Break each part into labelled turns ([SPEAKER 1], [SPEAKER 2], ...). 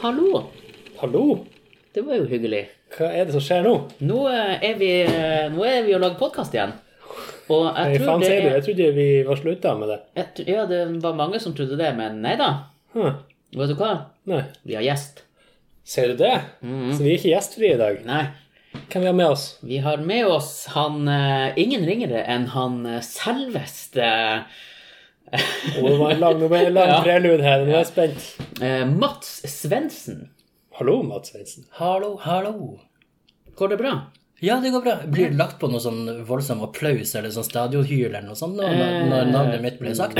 [SPEAKER 1] hallo!
[SPEAKER 2] Hallo?
[SPEAKER 1] Det var jo hyggelig.
[SPEAKER 2] Hva er det som skjer nå?
[SPEAKER 1] Nå eh, er vi, eh, nå er vi og lager podkast igjen. Og
[SPEAKER 2] Nei,
[SPEAKER 1] jeg tror
[SPEAKER 2] faen
[SPEAKER 1] det
[SPEAKER 2] sier du?
[SPEAKER 1] er
[SPEAKER 2] Jeg trodde vi var slutta med det.
[SPEAKER 1] jeg, tr- Ja, det var mange som trodde det, men nei da.
[SPEAKER 2] Hm.
[SPEAKER 1] Vet du hva?
[SPEAKER 2] Nei.
[SPEAKER 1] Vi har gjest.
[SPEAKER 2] Ser du det?
[SPEAKER 1] Mhm.
[SPEAKER 2] Så vi er ikke gjestfrie i dag.
[SPEAKER 1] Nei.
[SPEAKER 2] Hvem vi har med oss?
[SPEAKER 1] Vi har med oss han eh, ingen ringere enn han eh, selveste
[SPEAKER 2] Å, det var en lang, nå ble det en lang
[SPEAKER 1] Ja.
[SPEAKER 2] prelude her. Nå er jeg spent.
[SPEAKER 1] eh, Mats Svendsen.
[SPEAKER 2] Hallo, Mats Svendsen.
[SPEAKER 3] Hallo, hallo.
[SPEAKER 1] Går det bra?
[SPEAKER 3] Ja, det går bra. Blir det lagt på noe sånn voldsom applaus eller sånn stadionhyl eller noe sånt nå, når,
[SPEAKER 2] Eh,
[SPEAKER 3] når navnet mitt blir sagt?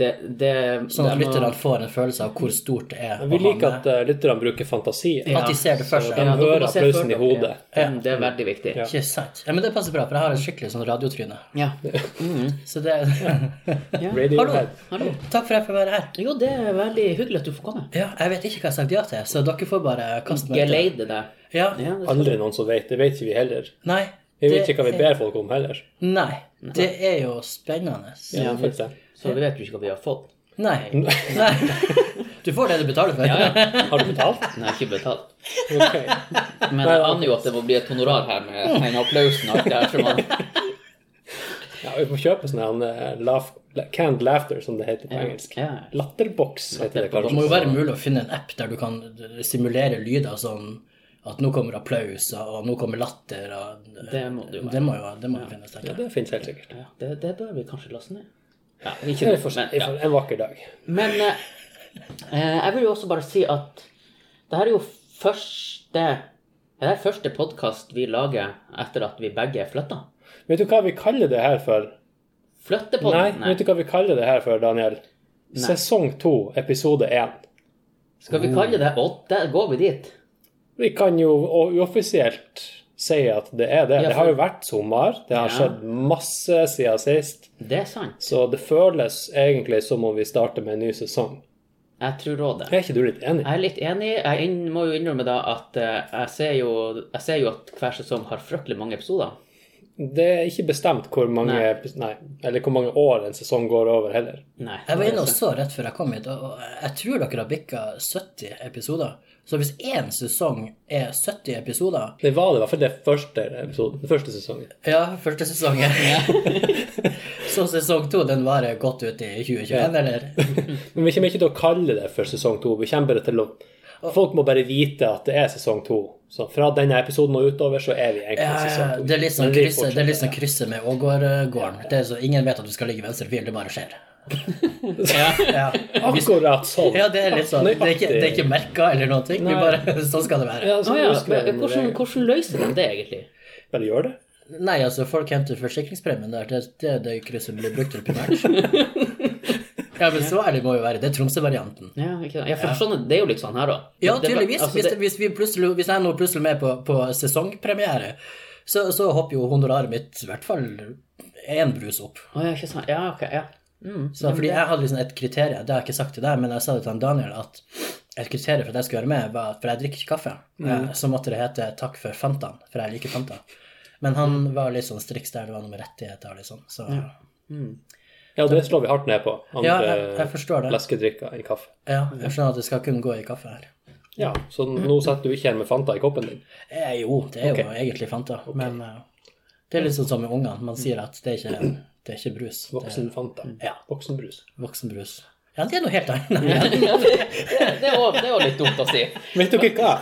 [SPEAKER 1] Det, det,
[SPEAKER 3] Sånn at
[SPEAKER 1] det må-
[SPEAKER 3] lytterne får en følelse av hvor stort det er.
[SPEAKER 2] Vi
[SPEAKER 3] å
[SPEAKER 2] liker
[SPEAKER 3] ha
[SPEAKER 2] at eh, lytterne bruker fantasi.
[SPEAKER 3] med- At de ser det for seg.
[SPEAKER 2] de
[SPEAKER 1] Ja, dere
[SPEAKER 2] hører
[SPEAKER 1] må se
[SPEAKER 2] applausen
[SPEAKER 1] for
[SPEAKER 2] i
[SPEAKER 1] dere.
[SPEAKER 2] hodet.
[SPEAKER 1] Ja, Det er veldig viktig.
[SPEAKER 2] Ja.
[SPEAKER 3] Ikke sant? Ja, men det passer bra, for jeg har en skikkelig sånn radiotryne.
[SPEAKER 1] Ja.
[SPEAKER 3] Så det
[SPEAKER 2] Radiohead.
[SPEAKER 1] Hallo.
[SPEAKER 3] Takk for at jeg får være her.
[SPEAKER 1] Jo, det er veldig hyggelig at du får komme.
[SPEAKER 3] Ja, jeg vet ikke hva jeg har sagt ja til, så dere får bare kaste meg ut.
[SPEAKER 1] Geleide deg.
[SPEAKER 3] Ja.
[SPEAKER 1] Ja, det-
[SPEAKER 2] Aldri noen som vet. Det vet ikke vi heller.
[SPEAKER 3] Nei.
[SPEAKER 2] Vi
[SPEAKER 3] det
[SPEAKER 2] vet ikke hva vi
[SPEAKER 3] er-
[SPEAKER 2] ber folk om heller.
[SPEAKER 3] Nei. Det er jo spennende.
[SPEAKER 1] Ja,
[SPEAKER 2] Faktisk.
[SPEAKER 1] Så du vet jo ikke hva vi har fått.
[SPEAKER 3] Nei. Nei. Du får det du betaler for.
[SPEAKER 2] Har du betalt?
[SPEAKER 1] Den har jeg ikke betalt.
[SPEAKER 2] Ok.
[SPEAKER 1] Men jeg aner jo at det må bli et honorar her med den applausen og alt det her. som man-
[SPEAKER 2] Ja, vi får kjøpe sånn her eh, laugh, canned laughter, som det heter på engelsk.
[SPEAKER 1] Ja.
[SPEAKER 2] Latterboks heter det
[SPEAKER 3] Det må
[SPEAKER 2] kanskje.
[SPEAKER 3] jo være mulig å finne en app der du kan simulere lyder som at nå kommer applaus, og nå kommer latter. Og,
[SPEAKER 1] Det må det jo være.
[SPEAKER 3] det må jo det må jo finnes,
[SPEAKER 2] Ja,
[SPEAKER 3] tenker jeg.
[SPEAKER 2] det finnes helt sikkert.
[SPEAKER 1] Ja, det, det bør vi kanskje laste ned. Ja, ikke
[SPEAKER 2] Vi
[SPEAKER 1] det,
[SPEAKER 2] får se.
[SPEAKER 1] men,
[SPEAKER 2] Vi
[SPEAKER 1] ja.
[SPEAKER 2] får- En vakker dag.
[SPEAKER 1] men eh, eh, jeg vil jo også bare si at det her er jo første det her er første podkast vi lager etter at vi begge er flytta.
[SPEAKER 2] Vet du hva vi kaller det her for? Nei,
[SPEAKER 1] Flyttepodden?
[SPEAKER 2] vet du hva vi kaller det her for, Daniel? Sesong to, episode én.
[SPEAKER 1] Skal vi kalle det Å, der går vi dit.
[SPEAKER 2] Vi kan jo u- uoffisielt si at det er det.
[SPEAKER 1] Ja,
[SPEAKER 2] Det har
[SPEAKER 1] for-
[SPEAKER 2] jo vært sommer. Det har
[SPEAKER 1] Ja.
[SPEAKER 2] skjedd masse siden sist.
[SPEAKER 1] Det er sant.
[SPEAKER 2] Så det føles egentlig som om vi starter med en ny sesong.
[SPEAKER 1] Jeg tror òg det.
[SPEAKER 2] Er ikke du litt enig?
[SPEAKER 1] Jeg er litt enig. Jeg inn, må jo innrømme da at eh, jeg, ser jo, jeg ser jo at hver sesong har fryktelig mange episoder.
[SPEAKER 2] Det er ikke bestemt hvor mange,
[SPEAKER 1] Nei.
[SPEAKER 2] epis- nei, eller hvor mange år en sesong går over heller.
[SPEAKER 1] Nei.
[SPEAKER 3] Jeg var inne og så rett før jeg kom hit, og og jeg tror dere har bikka 70 episoder. Så hvis én sesong er 70 episoder
[SPEAKER 2] Det var det i hvert fall det første episoden, den første sesongen.
[SPEAKER 3] Ja, første sesongen. så sesong to, den varer godt ut i 2021, eller?
[SPEAKER 2] Men vi kommer ikke til å kalle det for sesong to. Vi kommer bare til å Folk må bare vite at det er sesong to. Så fra denne episoden og utover, så er vi egentlig
[SPEAKER 3] Ja, ja,
[SPEAKER 2] sesong
[SPEAKER 3] ja.
[SPEAKER 2] to.
[SPEAKER 3] det er litt sånn
[SPEAKER 2] Men vi
[SPEAKER 3] krysset
[SPEAKER 2] fortsetter.
[SPEAKER 3] liksom krysse med Ågårdgården. Det er så Ingen vet at du skal ligge i venstre fil, det bare skjer. ja.
[SPEAKER 2] Akkurat sånn.
[SPEAKER 3] Ja, det er litt sånn. Det er ikke, det er ikke merka eller noen ting. Vi
[SPEAKER 2] Nei.
[SPEAKER 3] bare, sånn skal det være.
[SPEAKER 2] Ja, så
[SPEAKER 1] Å ja,
[SPEAKER 2] husker jeg
[SPEAKER 1] men
[SPEAKER 2] den
[SPEAKER 1] hvordan,
[SPEAKER 2] regelen.
[SPEAKER 1] hvordan løser de det, egentlig?
[SPEAKER 2] Bare gjør det.
[SPEAKER 3] Nei, altså, folk henter forsikringspremien der. Det det er det, krysset blir brukt til primært. Ja, men så ærlig må jo være. Det er Tromsø-varianten.
[SPEAKER 1] Ja, ikke sant? Ja, for sånn, Det er jo litt sånn her òg.
[SPEAKER 3] Ja, tydeligvis.
[SPEAKER 1] Altså,
[SPEAKER 3] Hvis,
[SPEAKER 1] det,
[SPEAKER 3] hvis, vi plutselig, hvis jeg nå plutselig er med på, på sesongpremiere, så, så hopper jo honoraret mitt i hvert fall én brus opp.
[SPEAKER 1] Å, ja, ikke sant. Ja, ok. Ja. Mm.
[SPEAKER 3] Så, fordi jeg hadde liksom et kriterium, det har jeg ikke sagt til deg, men jeg sa det til han Daniel, at et kriterium for at jeg skulle være med, var at for jeg drikker ikke kaffe.
[SPEAKER 2] Mm.
[SPEAKER 3] Eh, Så måtte det hete 'takk for Fantaen', for jeg liker Fanta. Men han
[SPEAKER 2] Mm.
[SPEAKER 3] var litt sånn striks der det var noe med rettigheter og litt sånn. Så ja,
[SPEAKER 2] Ja, det slår vi hardt ned på. Andre
[SPEAKER 3] jeg, jeg forstår det.
[SPEAKER 2] leskedrikker enn kaffe.
[SPEAKER 3] Ja, jeg skjønner at det skal kunne gå i kaffe her.
[SPEAKER 2] Ja, Så nå setter du ikke her med Fanta i koppen din.
[SPEAKER 3] Eh, jo, det er
[SPEAKER 2] Ok.
[SPEAKER 3] jo egentlig Fanta, men eh, det er litt sånn som med ungene. Man sier at det er ikke, det er ikke brus. Det er
[SPEAKER 2] Voksen Fanta.
[SPEAKER 3] Ja.
[SPEAKER 2] Voksenbrus.
[SPEAKER 3] voksenbrus. Ja, det er noe helt annet.
[SPEAKER 1] Ja, det, det er jo- det er jo litt dumt å si.
[SPEAKER 2] Vet dere hva?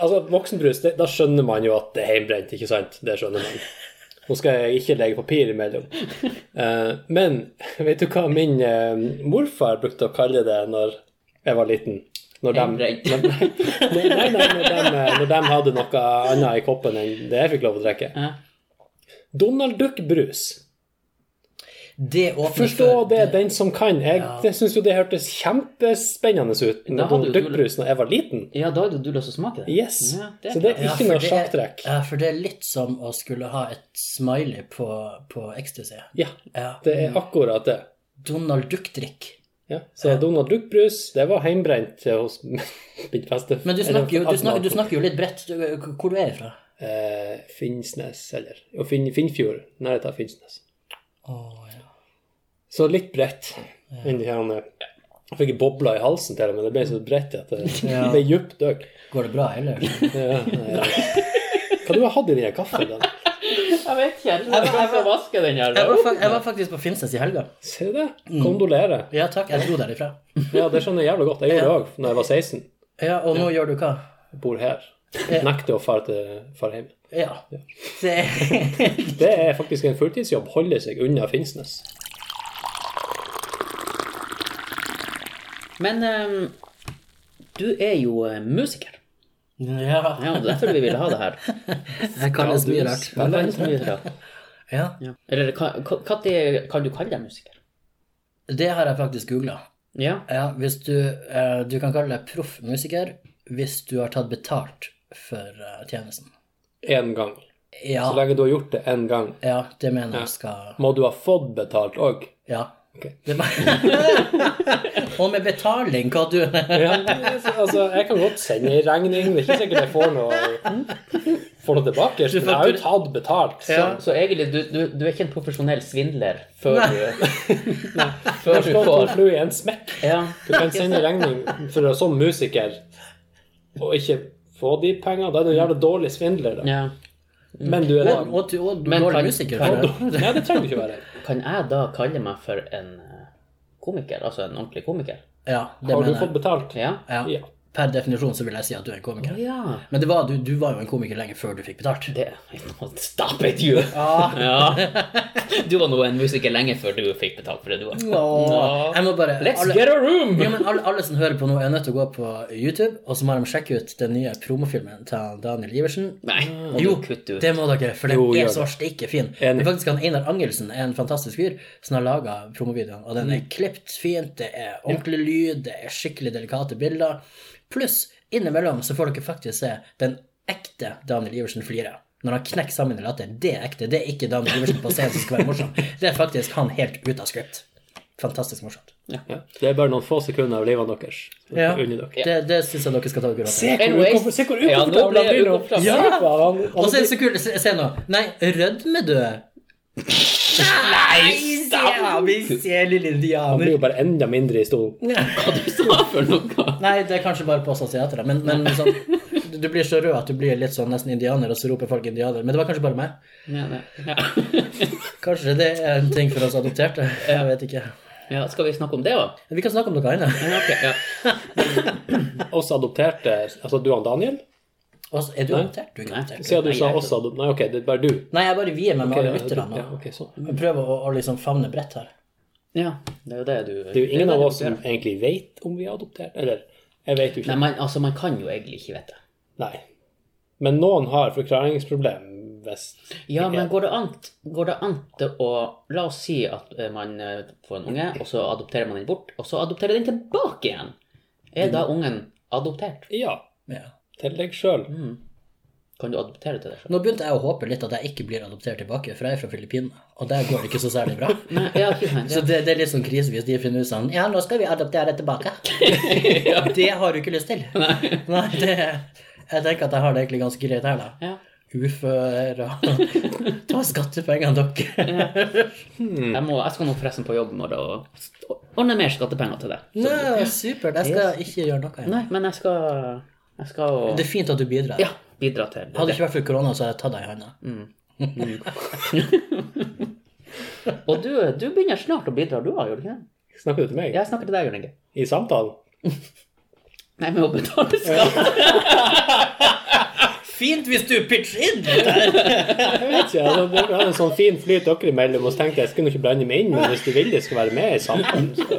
[SPEAKER 2] Altså, Voksenbrus, det, da skjønner man jo at det er hjemmebrent, ikke sant? Det skjønner man. Nå skal jeg ikke legge papir imellom. Eh, men vet du hva min eh, morfar brukte å kalle det når jeg var liten? Når de, nei,
[SPEAKER 1] Hjemmebrent.
[SPEAKER 2] nei, nei, nei, når, de, eh, når de hadde noe annet i koppen enn det jeg fikk lov å drikke.
[SPEAKER 1] Ja.
[SPEAKER 2] Donald Duck-brus.
[SPEAKER 3] Det åpner
[SPEAKER 2] Forstå
[SPEAKER 3] for-
[SPEAKER 2] det, den som kan. Jeg det syns jo det hørtes kjempespennende ut med
[SPEAKER 1] Da hadde
[SPEAKER 2] Donald
[SPEAKER 1] jo du-
[SPEAKER 2] Duck-brus da jeg var liten.
[SPEAKER 1] Ja, da er det jo du lyst til å smake det.
[SPEAKER 2] Yes.
[SPEAKER 1] Ja, det er
[SPEAKER 2] Så det er
[SPEAKER 3] Ja,
[SPEAKER 2] ikke
[SPEAKER 3] for
[SPEAKER 2] noe
[SPEAKER 3] det-
[SPEAKER 2] sjakktrekk.
[SPEAKER 3] Ja, for det er litt som å skulle ha et smiley på, på ecstasy.
[SPEAKER 2] Ja,
[SPEAKER 3] Ja.
[SPEAKER 2] det er akkurat det.
[SPEAKER 3] Donald Duck-drikk.
[SPEAKER 2] Ja. Så Donald Duck-brus, det var heimbrent hos min beste
[SPEAKER 3] Men du snakker, jo, du, snakker, du snakker jo litt bredt. Du- Hvor du er fra?
[SPEAKER 2] Eh, Finnsnes, eller jo, Finn, Finnfjord. Nærheten av Finnsnes.
[SPEAKER 3] Å, ja.
[SPEAKER 2] Så litt bredt enn de her andre. Jeg fikk bobler i halsen til det, men det ble så bredt at det det
[SPEAKER 3] Ja.
[SPEAKER 2] ble djupt øk.
[SPEAKER 3] Går det bra ellers?
[SPEAKER 2] Ja, ja. Hva du har hatt i den her kaffen? da?
[SPEAKER 1] Jeg vet ikke. Jeg tror jeg
[SPEAKER 3] jeg-
[SPEAKER 1] skal vaske den her.
[SPEAKER 3] Jeg var, fak- jeg var faktisk på Finnsnes i helga.
[SPEAKER 2] Se det.
[SPEAKER 3] Mm.
[SPEAKER 2] Kondolerer.
[SPEAKER 3] Ja takk, jeg dro derifra.
[SPEAKER 2] Ja, det skjønner jeg jævlig godt. Jeg gjorde det òg da jeg var 16.
[SPEAKER 3] Ja, og nå gjør du hva?
[SPEAKER 2] Jeg bor her. Nekter å fare til far hjem.
[SPEAKER 3] Ja. Det,
[SPEAKER 2] Det er faktisk en fulltidsjobb. Holde seg unna Finnsnes.
[SPEAKER 1] Men ehm, du er jo eh, musiker.
[SPEAKER 3] ja.
[SPEAKER 1] Ja, det er derfor vi ville ha det her.
[SPEAKER 3] Jeg kan det så mye rart.
[SPEAKER 1] Ja, det er så mye rart.
[SPEAKER 3] Ja.
[SPEAKER 1] Ja. Eller kan, kan, kan det- kan du kalle deg musiker?
[SPEAKER 3] Det har jeg faktisk googla.
[SPEAKER 1] Ja.
[SPEAKER 3] Ja, hvis du, eh, du kan kalle deg proff musiker hvis du har tatt betalt for eh, tjenesten.
[SPEAKER 2] Én gang.
[SPEAKER 3] Ja,
[SPEAKER 2] Så lenge du har gjort det én gang,
[SPEAKER 3] ja, det mener jeg skal
[SPEAKER 2] må du ha fått betalt òg.
[SPEAKER 3] Ja.
[SPEAKER 2] Ok.
[SPEAKER 3] Det var... og med betaling, hva du
[SPEAKER 2] Ja, altså, jeg kan godt sende ei regning. Det er ikke sikkert jeg får noe, får noe tilbake. Men jeg har jo tatt betalt. Så.
[SPEAKER 3] Ja.
[SPEAKER 1] Så egentlig, du, du, du er ikke en profesjonell svindler før du, før du
[SPEAKER 2] Slå to
[SPEAKER 1] får
[SPEAKER 2] fluer i en smekk.
[SPEAKER 1] ja.
[SPEAKER 2] Du kan sende regning for å- som musiker og ikke få de pengene. Da er du en jævla dårlig svindler. Da.
[SPEAKER 1] ja.
[SPEAKER 2] Men du er
[SPEAKER 3] Og,
[SPEAKER 2] da
[SPEAKER 3] og, du- og du
[SPEAKER 1] Men
[SPEAKER 3] dårlig
[SPEAKER 1] kan-
[SPEAKER 3] musiker.
[SPEAKER 1] kan
[SPEAKER 3] for-
[SPEAKER 2] Nei, det trenger du ikke være.
[SPEAKER 1] Kan jeg da kalle meg for en eh, komiker? Altså en ordentlig komiker?
[SPEAKER 3] Ja, det
[SPEAKER 2] Har du
[SPEAKER 3] mener
[SPEAKER 2] fått
[SPEAKER 3] jeg.
[SPEAKER 2] betalt?
[SPEAKER 1] Ja.
[SPEAKER 3] Ja.
[SPEAKER 2] Ja.
[SPEAKER 3] Per definisjon så vil jeg si at du er en komiker.
[SPEAKER 1] Ja.
[SPEAKER 3] Men det var, du, du var jo en komiker lenge før du fikk betalt.
[SPEAKER 1] Det Stop it, you!
[SPEAKER 3] Ah.
[SPEAKER 1] Ja. Du var nå en musiker lenge før du fikk betalt for det du var.
[SPEAKER 3] Åh, Jeg må bare
[SPEAKER 1] Let's
[SPEAKER 3] alle-
[SPEAKER 1] get a room!
[SPEAKER 3] Ja, men alle, alle som hører på nå, er nødt til å gå på YouTube, og så må de sjekke ut den nye promofilmen til Daniel Iversen.
[SPEAKER 1] Nei, må
[SPEAKER 3] Ah. Jo,
[SPEAKER 1] du kutte ut.
[SPEAKER 3] det må dere, for den
[SPEAKER 2] Jo, gjør
[SPEAKER 3] er
[SPEAKER 2] det.
[SPEAKER 3] så stikke fin.
[SPEAKER 2] Enig.
[SPEAKER 3] Det er faktisk han Einar Angelsen er en fantastisk fyr som har laga promovideoen, og
[SPEAKER 2] Mm.
[SPEAKER 3] den er klipt fint, det er ordentlig lyd, det er skikkelig delikate bilder. Pluss, innimellom så får dere faktisk se den ekte Daniel Iversen flire. Når han knekker sammen i latter. Det er ekte. Det er ikke Daniel Iversen på scenen som skal være morsom. Det er faktisk han helt ut av script. Fantastisk morsomt.
[SPEAKER 2] Ja. Det er bare noen få sekunder av livet deres.
[SPEAKER 3] Ja.
[SPEAKER 2] Under dere.
[SPEAKER 3] Det, det syns jeg dere skal ta dere råd til.
[SPEAKER 2] Se hvor
[SPEAKER 1] Anyways.
[SPEAKER 2] ukomfort- se hvor
[SPEAKER 1] Ja, nå
[SPEAKER 2] ukomfortabel
[SPEAKER 1] ble
[SPEAKER 2] han
[SPEAKER 1] jeg
[SPEAKER 2] blir nå.
[SPEAKER 1] ukomfortabel.
[SPEAKER 2] Ja,
[SPEAKER 3] Ja.
[SPEAKER 2] faen, han-
[SPEAKER 3] Og
[SPEAKER 2] han-
[SPEAKER 3] så er det så kult, se, se nå. Nei, rødmer du? Nei,
[SPEAKER 1] stav!
[SPEAKER 3] vi ser lille
[SPEAKER 2] Han blir
[SPEAKER 3] indianer.
[SPEAKER 2] jo bare enda mindre i stolen.
[SPEAKER 1] Hva du sa for noe?
[SPEAKER 3] Nei, det er kanskje bare på sosiater, men, men sånn, du- du blir så rød at du blir litt sånn nesten indianer, og så roper folk indianer. Men det var kanskje bare meg.
[SPEAKER 1] Ja, nei. Ja.
[SPEAKER 3] Kanskje det er en ting for oss adopterte. Jeg vet ikke.
[SPEAKER 1] ja, skal vi snakke om det òg?
[SPEAKER 3] Vi kan snakke om noe annet.
[SPEAKER 1] Ja, ok, ja.
[SPEAKER 2] Oss adopterte Altså du og Daniel?
[SPEAKER 3] Også, er du adoptert? Du er ikke
[SPEAKER 1] Nei.
[SPEAKER 3] adoptert.
[SPEAKER 2] Siden du
[SPEAKER 1] Nei,
[SPEAKER 2] sa
[SPEAKER 1] jeg er
[SPEAKER 2] oss adopterte Nei, ok, det er bare du.
[SPEAKER 3] Nei, jeg bare vier meg med
[SPEAKER 2] Ok,
[SPEAKER 3] alle
[SPEAKER 2] ja,
[SPEAKER 3] lytterne
[SPEAKER 2] du- ja,
[SPEAKER 3] nå.
[SPEAKER 2] ok, sånn.
[SPEAKER 3] Jeg prøver å, å liksom favne bredt her.
[SPEAKER 1] ja, det er jo det du
[SPEAKER 2] Det er jo ingen av oss som egentlig vet om vi er adoptert. Eller, jeg vet jo
[SPEAKER 1] Nei,
[SPEAKER 2] ikke.
[SPEAKER 1] man, altså, man kan jo egentlig ikke vite.
[SPEAKER 2] Nei. Men noen har forklaringsproblem hvis
[SPEAKER 1] Ja, men går det an, går det an til å La oss si at eh, man eh, får en unge, og så adopterer man den bort, og så adopterer den tilbake igjen. Er da ungen adoptert? Hmm.
[SPEAKER 2] Ja.
[SPEAKER 3] Ja.
[SPEAKER 2] Til deg sjøl.
[SPEAKER 1] Kan du adoptere til deg selv?
[SPEAKER 3] Nå begynte jeg å håpe litt at jeg ikke blir adoptert tilbake, for jeg er fra Filippinene, og der går det ikke så særlig bra.
[SPEAKER 1] Nei, ja, ikke sant.
[SPEAKER 3] Så det, det er litt sånn krise hvis de finner ut sånn Ja, nå skal vi adoptere tilbake. Det har du ikke lyst til. Nei. det, jeg tenker at jeg har det egentlig ganske greit her, da.
[SPEAKER 1] Ja.
[SPEAKER 3] Ufør og Ta skattepengene dere.
[SPEAKER 2] Hmm.
[SPEAKER 1] Jeg, må, jeg skal nå forresten på jobb i morgen og st- ordne mer skattepenger til deg.
[SPEAKER 3] Nei, supert. Jeg skal ikke gjøre noe. igjen.
[SPEAKER 1] Nei, men jeg skal, jeg skal
[SPEAKER 3] Det er fint at du bidrar.
[SPEAKER 1] ja, bidra til det.
[SPEAKER 3] Hadde det ikke vært for korona, så hadde jeg tatt deg i hånda.
[SPEAKER 1] Og du, du begynner snart å bidra, du òg, gjør du ikke det?
[SPEAKER 2] Snakker du til meg?
[SPEAKER 1] Jeg snakker til deg, Jørn Inge.
[SPEAKER 2] I samtalen?
[SPEAKER 1] Nei, med å betale skatt.
[SPEAKER 3] Fint hvis du pitcher inn litt der.
[SPEAKER 2] Jeg vet ikke. Altså, det er en sånn fin flyt dere imellom, og så tenkte jeg jeg skulle ikke blande meg inn, men hvis du vil jeg skal være med i samtalen, så,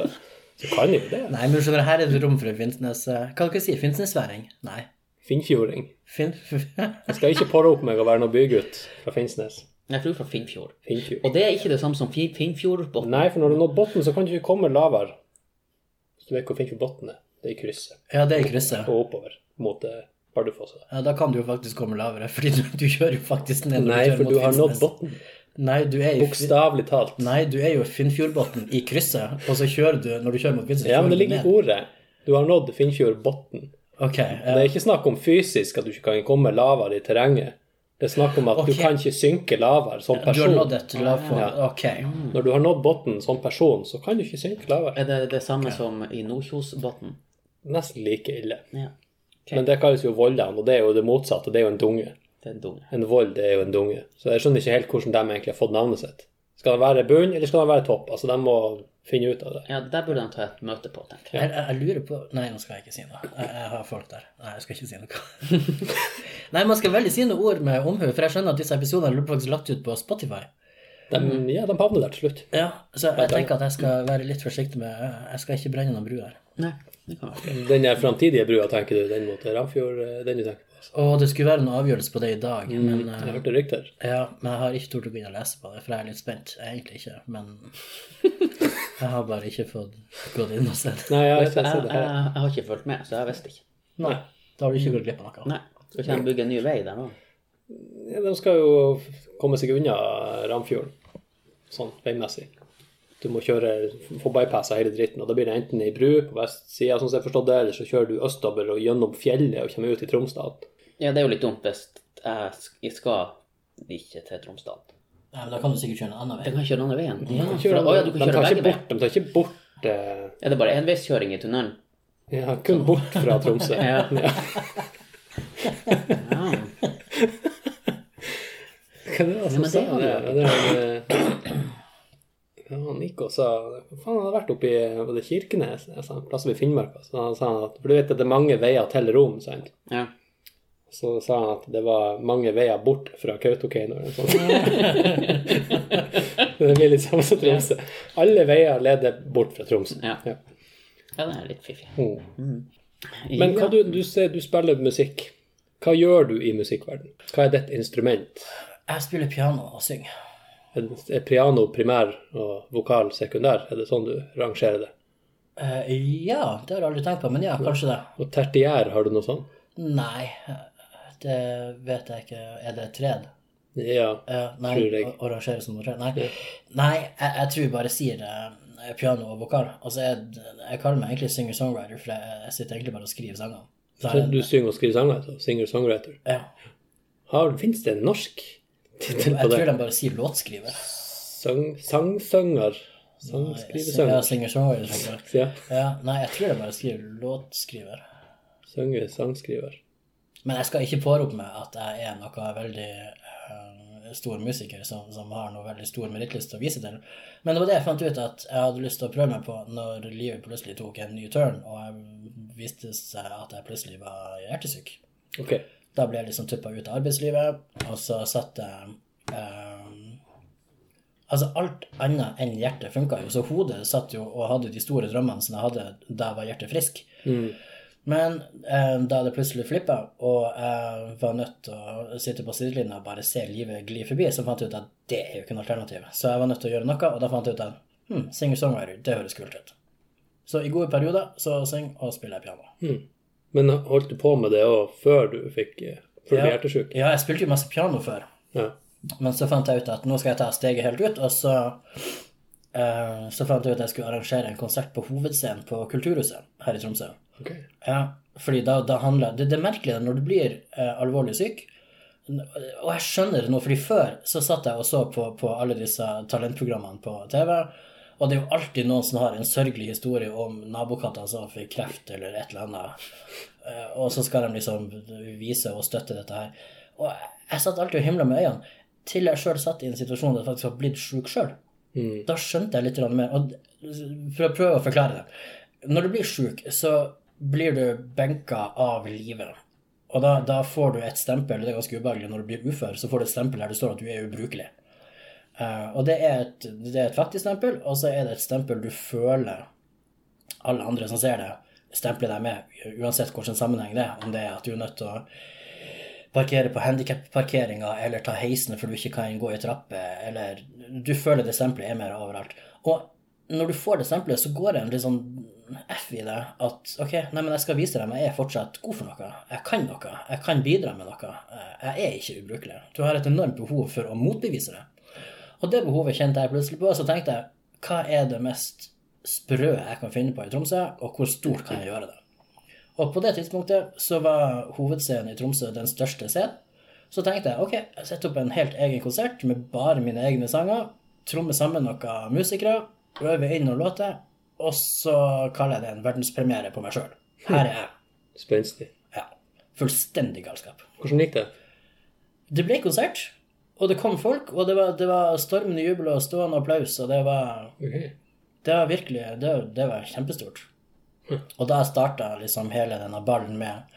[SPEAKER 2] så kan jeg jo det.
[SPEAKER 3] Nei, men skjønner du, her er det rom for en Finnsnes... eh, Hva dere sier? Finnsnesværing? Nei.
[SPEAKER 2] Finnfjording.
[SPEAKER 3] Finn...
[SPEAKER 2] Jeg skal ikke påre opp meg å være noen bygutt fra Finnsnes.
[SPEAKER 1] Jeg tror fra Finnfjord.
[SPEAKER 2] Finnfjord.
[SPEAKER 1] Og det er ikke det samme som Fin- Finnfjordbotn.
[SPEAKER 2] Nei, for når du nådd bunnen, så kan du ikke komme lavere. Hvis du vet hvor Finnfjordbotn er. Det er i krysset.
[SPEAKER 3] Ja, det er i krysset.
[SPEAKER 2] Og oppover mot eh, Bardufoss.
[SPEAKER 3] Ja, da kan du jo faktisk komme lavere, fordi du, du kjører jo faktisk ned. når
[SPEAKER 2] Nei,
[SPEAKER 3] kjører
[SPEAKER 2] for
[SPEAKER 3] mot
[SPEAKER 2] du har nådd
[SPEAKER 3] Finnsnes.
[SPEAKER 2] bunnen.
[SPEAKER 3] Nei, du er i Fin-
[SPEAKER 2] Bokstavelig talt.
[SPEAKER 3] Nei, du er jo Finnfjordbotn i krysset, og så kjører du når du kjører mot Finnsnes.
[SPEAKER 2] Ja, men
[SPEAKER 3] kjører
[SPEAKER 2] det
[SPEAKER 3] du
[SPEAKER 2] ligger i
[SPEAKER 3] ned.
[SPEAKER 2] ordet. Du har nådd Finnfjordbotn.
[SPEAKER 3] Ok, eh, ja.
[SPEAKER 2] Det er ikke snakk om fysisk at du ikke kan komme lavere i terrenget. Det er snakk om at
[SPEAKER 3] Ok.
[SPEAKER 2] du kan ikke synke lavere som
[SPEAKER 3] Du har
[SPEAKER 2] person.
[SPEAKER 3] nådd et lavpunkt.
[SPEAKER 2] Ja.
[SPEAKER 3] Ok.
[SPEAKER 2] Når du har nådd bunnen som person, så kan du ikke synke lavere.
[SPEAKER 1] Er det det samme som i Nordkjosbotn?
[SPEAKER 2] Nesten like ille.
[SPEAKER 1] Ja. Ok.
[SPEAKER 2] Men det kalles jo voldene, og det er jo det motsatte. Det er jo en dunge.
[SPEAKER 1] Det er dumt.
[SPEAKER 2] En vold det er jo en dunge. Så jeg skjønner ikke helt hvordan de egentlig har fått navnet sitt. Skal den være bunn, eller skal den være topp? Altså, de må finne ut av det.
[SPEAKER 1] Ja, det der burde han ta et møte på, tenker jeg.
[SPEAKER 3] Jeg, jeg, jeg lurer på Nei, nå skal jeg ikke si noe. Jeg, jeg har folk der. Nei, jeg skal ikke si noe. nei, man skal veldig si noen ord med omhu, for jeg skjønner at disse episodene blir faktisk lagt ut på Spotify.
[SPEAKER 2] De,
[SPEAKER 3] Mm.
[SPEAKER 2] ja, de havner der til slutt.
[SPEAKER 3] Ja, Så jeg tenker at jeg skal være litt forsiktig med Jeg skal ikke brenne noen bruer.
[SPEAKER 1] Nei, det kan være.
[SPEAKER 2] Den der framtidige brua, tenker du, den mot Ramfjord, eh, den du tenker på? altså.
[SPEAKER 3] Og det skulle være en avgjørelse på det i dag,
[SPEAKER 2] Mm,
[SPEAKER 3] men eh,
[SPEAKER 2] Jeg hørte rykter.
[SPEAKER 3] Ja, men jeg har ikke tort å begynne å lese på det, for jeg er litt spent. Jeg er egentlig ikke, men jeg har bare ikke fått gått inn og sett.
[SPEAKER 2] Nei, jeg har
[SPEAKER 1] Jeg,
[SPEAKER 2] ikke sett
[SPEAKER 1] jeg,
[SPEAKER 2] det her.
[SPEAKER 1] jeg har ikke fulgt med, så jeg visste ikke.
[SPEAKER 3] Nei, da har du ikke gått glipp av noe.
[SPEAKER 1] Nei. Skal ikke de bygge en ny vei der nå?
[SPEAKER 2] Ja, De skal jo komme seg unna Ramfjorden, sånn veimessig. Du må kjøre, få bypassa hele dritten, og da blir det enten ei bru på vestsida, sånn som jeg forstod det, eller så kjører du østover og gjennom fjellet og kommer ut i Tromsdal.
[SPEAKER 1] Ja, det er jo litt dumt hvis jeg sk- jeg skal ikke til Tromsdal.
[SPEAKER 3] Nei, men da kan du sikkert kjøre en annen
[SPEAKER 1] Jeg
[SPEAKER 3] vei.
[SPEAKER 1] kan kjøre den andre veien. Ja,
[SPEAKER 2] De
[SPEAKER 1] for,
[SPEAKER 2] kjører-
[SPEAKER 1] å, ja, du kan
[SPEAKER 2] de
[SPEAKER 1] kjøre
[SPEAKER 2] tar
[SPEAKER 1] begge
[SPEAKER 2] ikke
[SPEAKER 1] veier.
[SPEAKER 2] bort, de tar ikke bort eh,
[SPEAKER 1] Er det bare enveiskjøring i tunnelen?
[SPEAKER 2] ja, kun bort fra Tromsø.
[SPEAKER 1] Ja. Ja.
[SPEAKER 2] Hva det
[SPEAKER 1] Ja,
[SPEAKER 2] var
[SPEAKER 1] men
[SPEAKER 2] som
[SPEAKER 1] det
[SPEAKER 2] sa
[SPEAKER 1] var
[SPEAKER 2] det? Ja, det var, eh, ja, Nico sa Hva faen han hadde vært oppe i var det Kirkenes, altså, en plass oppe i Finnmark? Altså. Han sa han at, for du vet at det er mange veier til Rom, sant?
[SPEAKER 1] ja.
[SPEAKER 2] Så sa han at det var mange veier bort fra Kautokeino. eller noe sånt. det blir litt samme som Tromsø. Alle veier leder bort fra Tromsø.
[SPEAKER 1] Ja. ja, det er litt fiffig.
[SPEAKER 2] Mm. Men
[SPEAKER 1] Men
[SPEAKER 2] hva du, du, ser, du spiller musikk. Hva gjør du i musikkverden? Hva er ditt instrument?
[SPEAKER 3] Jeg spiller piano og synger.
[SPEAKER 2] Er er piano primær og vokal sekundær? Er det sånn du rangerer det?
[SPEAKER 3] Eh, ja, det har jeg aldri tenkt på, men ja, kanskje det.
[SPEAKER 2] Og tertiær, har du noe sånn? sånt?
[SPEAKER 3] Nei, det vet jeg ikke. Er det et tred?
[SPEAKER 2] Ja.
[SPEAKER 3] Eh, nei,
[SPEAKER 2] Tror jeg.
[SPEAKER 3] å- å rangere som noe tred? Nei, nei jeg, jeg tror jeg bare sier eh, piano og vokal. Altså, jeg, jeg kaller meg egentlig singer-songwriter, for jeg, jeg sitter egentlig bare og skriver sanger. Så
[SPEAKER 2] Så
[SPEAKER 3] jeg-
[SPEAKER 2] du synger og skriver sanger? altså, Singer-songwriter.
[SPEAKER 3] ja.
[SPEAKER 2] Fins det en norsk tittel på
[SPEAKER 3] Jeg tror
[SPEAKER 2] det?
[SPEAKER 3] de bare sier låtskriver.
[SPEAKER 2] Sang- Sangsanger?
[SPEAKER 3] Ja,
[SPEAKER 2] Sangskrivesanger?
[SPEAKER 3] singer-songwriter. tenker jeg.
[SPEAKER 2] Ja.
[SPEAKER 3] Ja, nei, jeg tror de bare skriver låtskriver.
[SPEAKER 2] Sanger, sangskriver.
[SPEAKER 3] Men jeg skal ikke pårope meg at jeg er noe veldig eh, stor musiker som, som har noe veldig stor merittliste å vise til. Men det var det jeg fant ut at jeg hadde lyst til å prøve meg på når livet plutselig tok en ny turn, og jeg viste seg at jeg plutselig var hjertesyk.
[SPEAKER 2] Ok.
[SPEAKER 3] Da ble jeg liksom tuppa ut av arbeidslivet, og så satt jeg eh, Altså, alt annet enn hjertet funka jo, så hodet satt jo og hadde de store drømmene som jeg hadde da jeg var hjertefrisk. Men eh, da det plutselig flippa, og jeg var nødt til å sitte på sidelinja og bare se livet gli forbi, så fant jeg ut at det er jo ikke noe alternativ. Så jeg var nødt til å gjøre noe, og da fant jeg ut at hm, singer-songwriter, det høres kult ut. Så i gode perioder så synger og spiller jeg piano.
[SPEAKER 2] Hmm. Men holdt du på med det òg før du fikk eh, Før du ble
[SPEAKER 3] Ja.
[SPEAKER 2] hjertesjuk?
[SPEAKER 3] Ja, jeg spilte jo masse piano før.
[SPEAKER 2] Ja.
[SPEAKER 3] Men så fant jeg ut at nå skal jeg ta steget helt ut, og så eh, så fant jeg ut at jeg skulle arrangere en konsert på hovedscenen på Kulturhuset her i Tromsø.
[SPEAKER 2] Ok.
[SPEAKER 3] Ja, fordi da, da handler Det, det er merkelig når du blir eh, alvorlig syk, og jeg skjønner det nå, fordi før så satt jeg og så på, på alle disse talentprogrammene på TV, og det er jo alltid noen som har en sørgelig historie om nabokatter som fikk kreft eller et eller annet, Eh, og så skal de liksom vise og støtte dette her. Og jeg satt alltid og himla med øynene, til jeg sjøl satt i en situasjon der jeg faktisk var blitt sjuk sjøl.
[SPEAKER 2] Hmm.
[SPEAKER 3] Da skjønte jeg litt grann mer. Og for å prøve å forklare det. Når du blir sjuk, så blir du benka av livet. Og da, da får du et stempel, det er ganske ubehagelig når du blir ufør, så får du et stempel der det står at du er ubrukelig. Eh, og det er, et, det er et fattig stempel, og så er det et stempel du føler alle andre som ser det, stempler deg med, uansett hvilken sammenheng det er. Om det er at du er nødt til å parkere på handikapparkeringa, eller ta heisen for du ikke kan gå i trappe, eller Du føler det stempelet er mer overalt. Og når du får det stempelet, så går det en litt sånn F i det at OK, nei, men jeg skal vise dem jeg er fortsatt god for noe. Jeg kan noe. Jeg kan bidra med noe. Eh, Jeg er ikke ubrukelig. Du har et enormt behov for å motbevise det. Og det behovet kjente jeg plutselig på, og så tenkte jeg hva er det mest sprø jeg kan finne på i Tromsø, og hvor stort kan jeg gjøre det? Og på det tidspunktet så var hovedscenen i Tromsø den største scenen, Så tenkte jeg ok, jeg setter opp en helt egen konsert med bare mine egne sanger. Trommer sammen noen musikere, øver inn noen låter, og så kaller jeg det en verdenspremiere på meg sjøl. Her er jeg.
[SPEAKER 2] Spenstig.
[SPEAKER 3] Ja. Fullstendig galskap.
[SPEAKER 2] Hvordan gikk det?
[SPEAKER 3] Det ble konsert, og det kom folk, og det var, det var stormende jubel og stående applaus, og det var,
[SPEAKER 2] Ok.
[SPEAKER 3] det var virkelig det, det var kjempestort. Og da starta liksom hele denne ballen med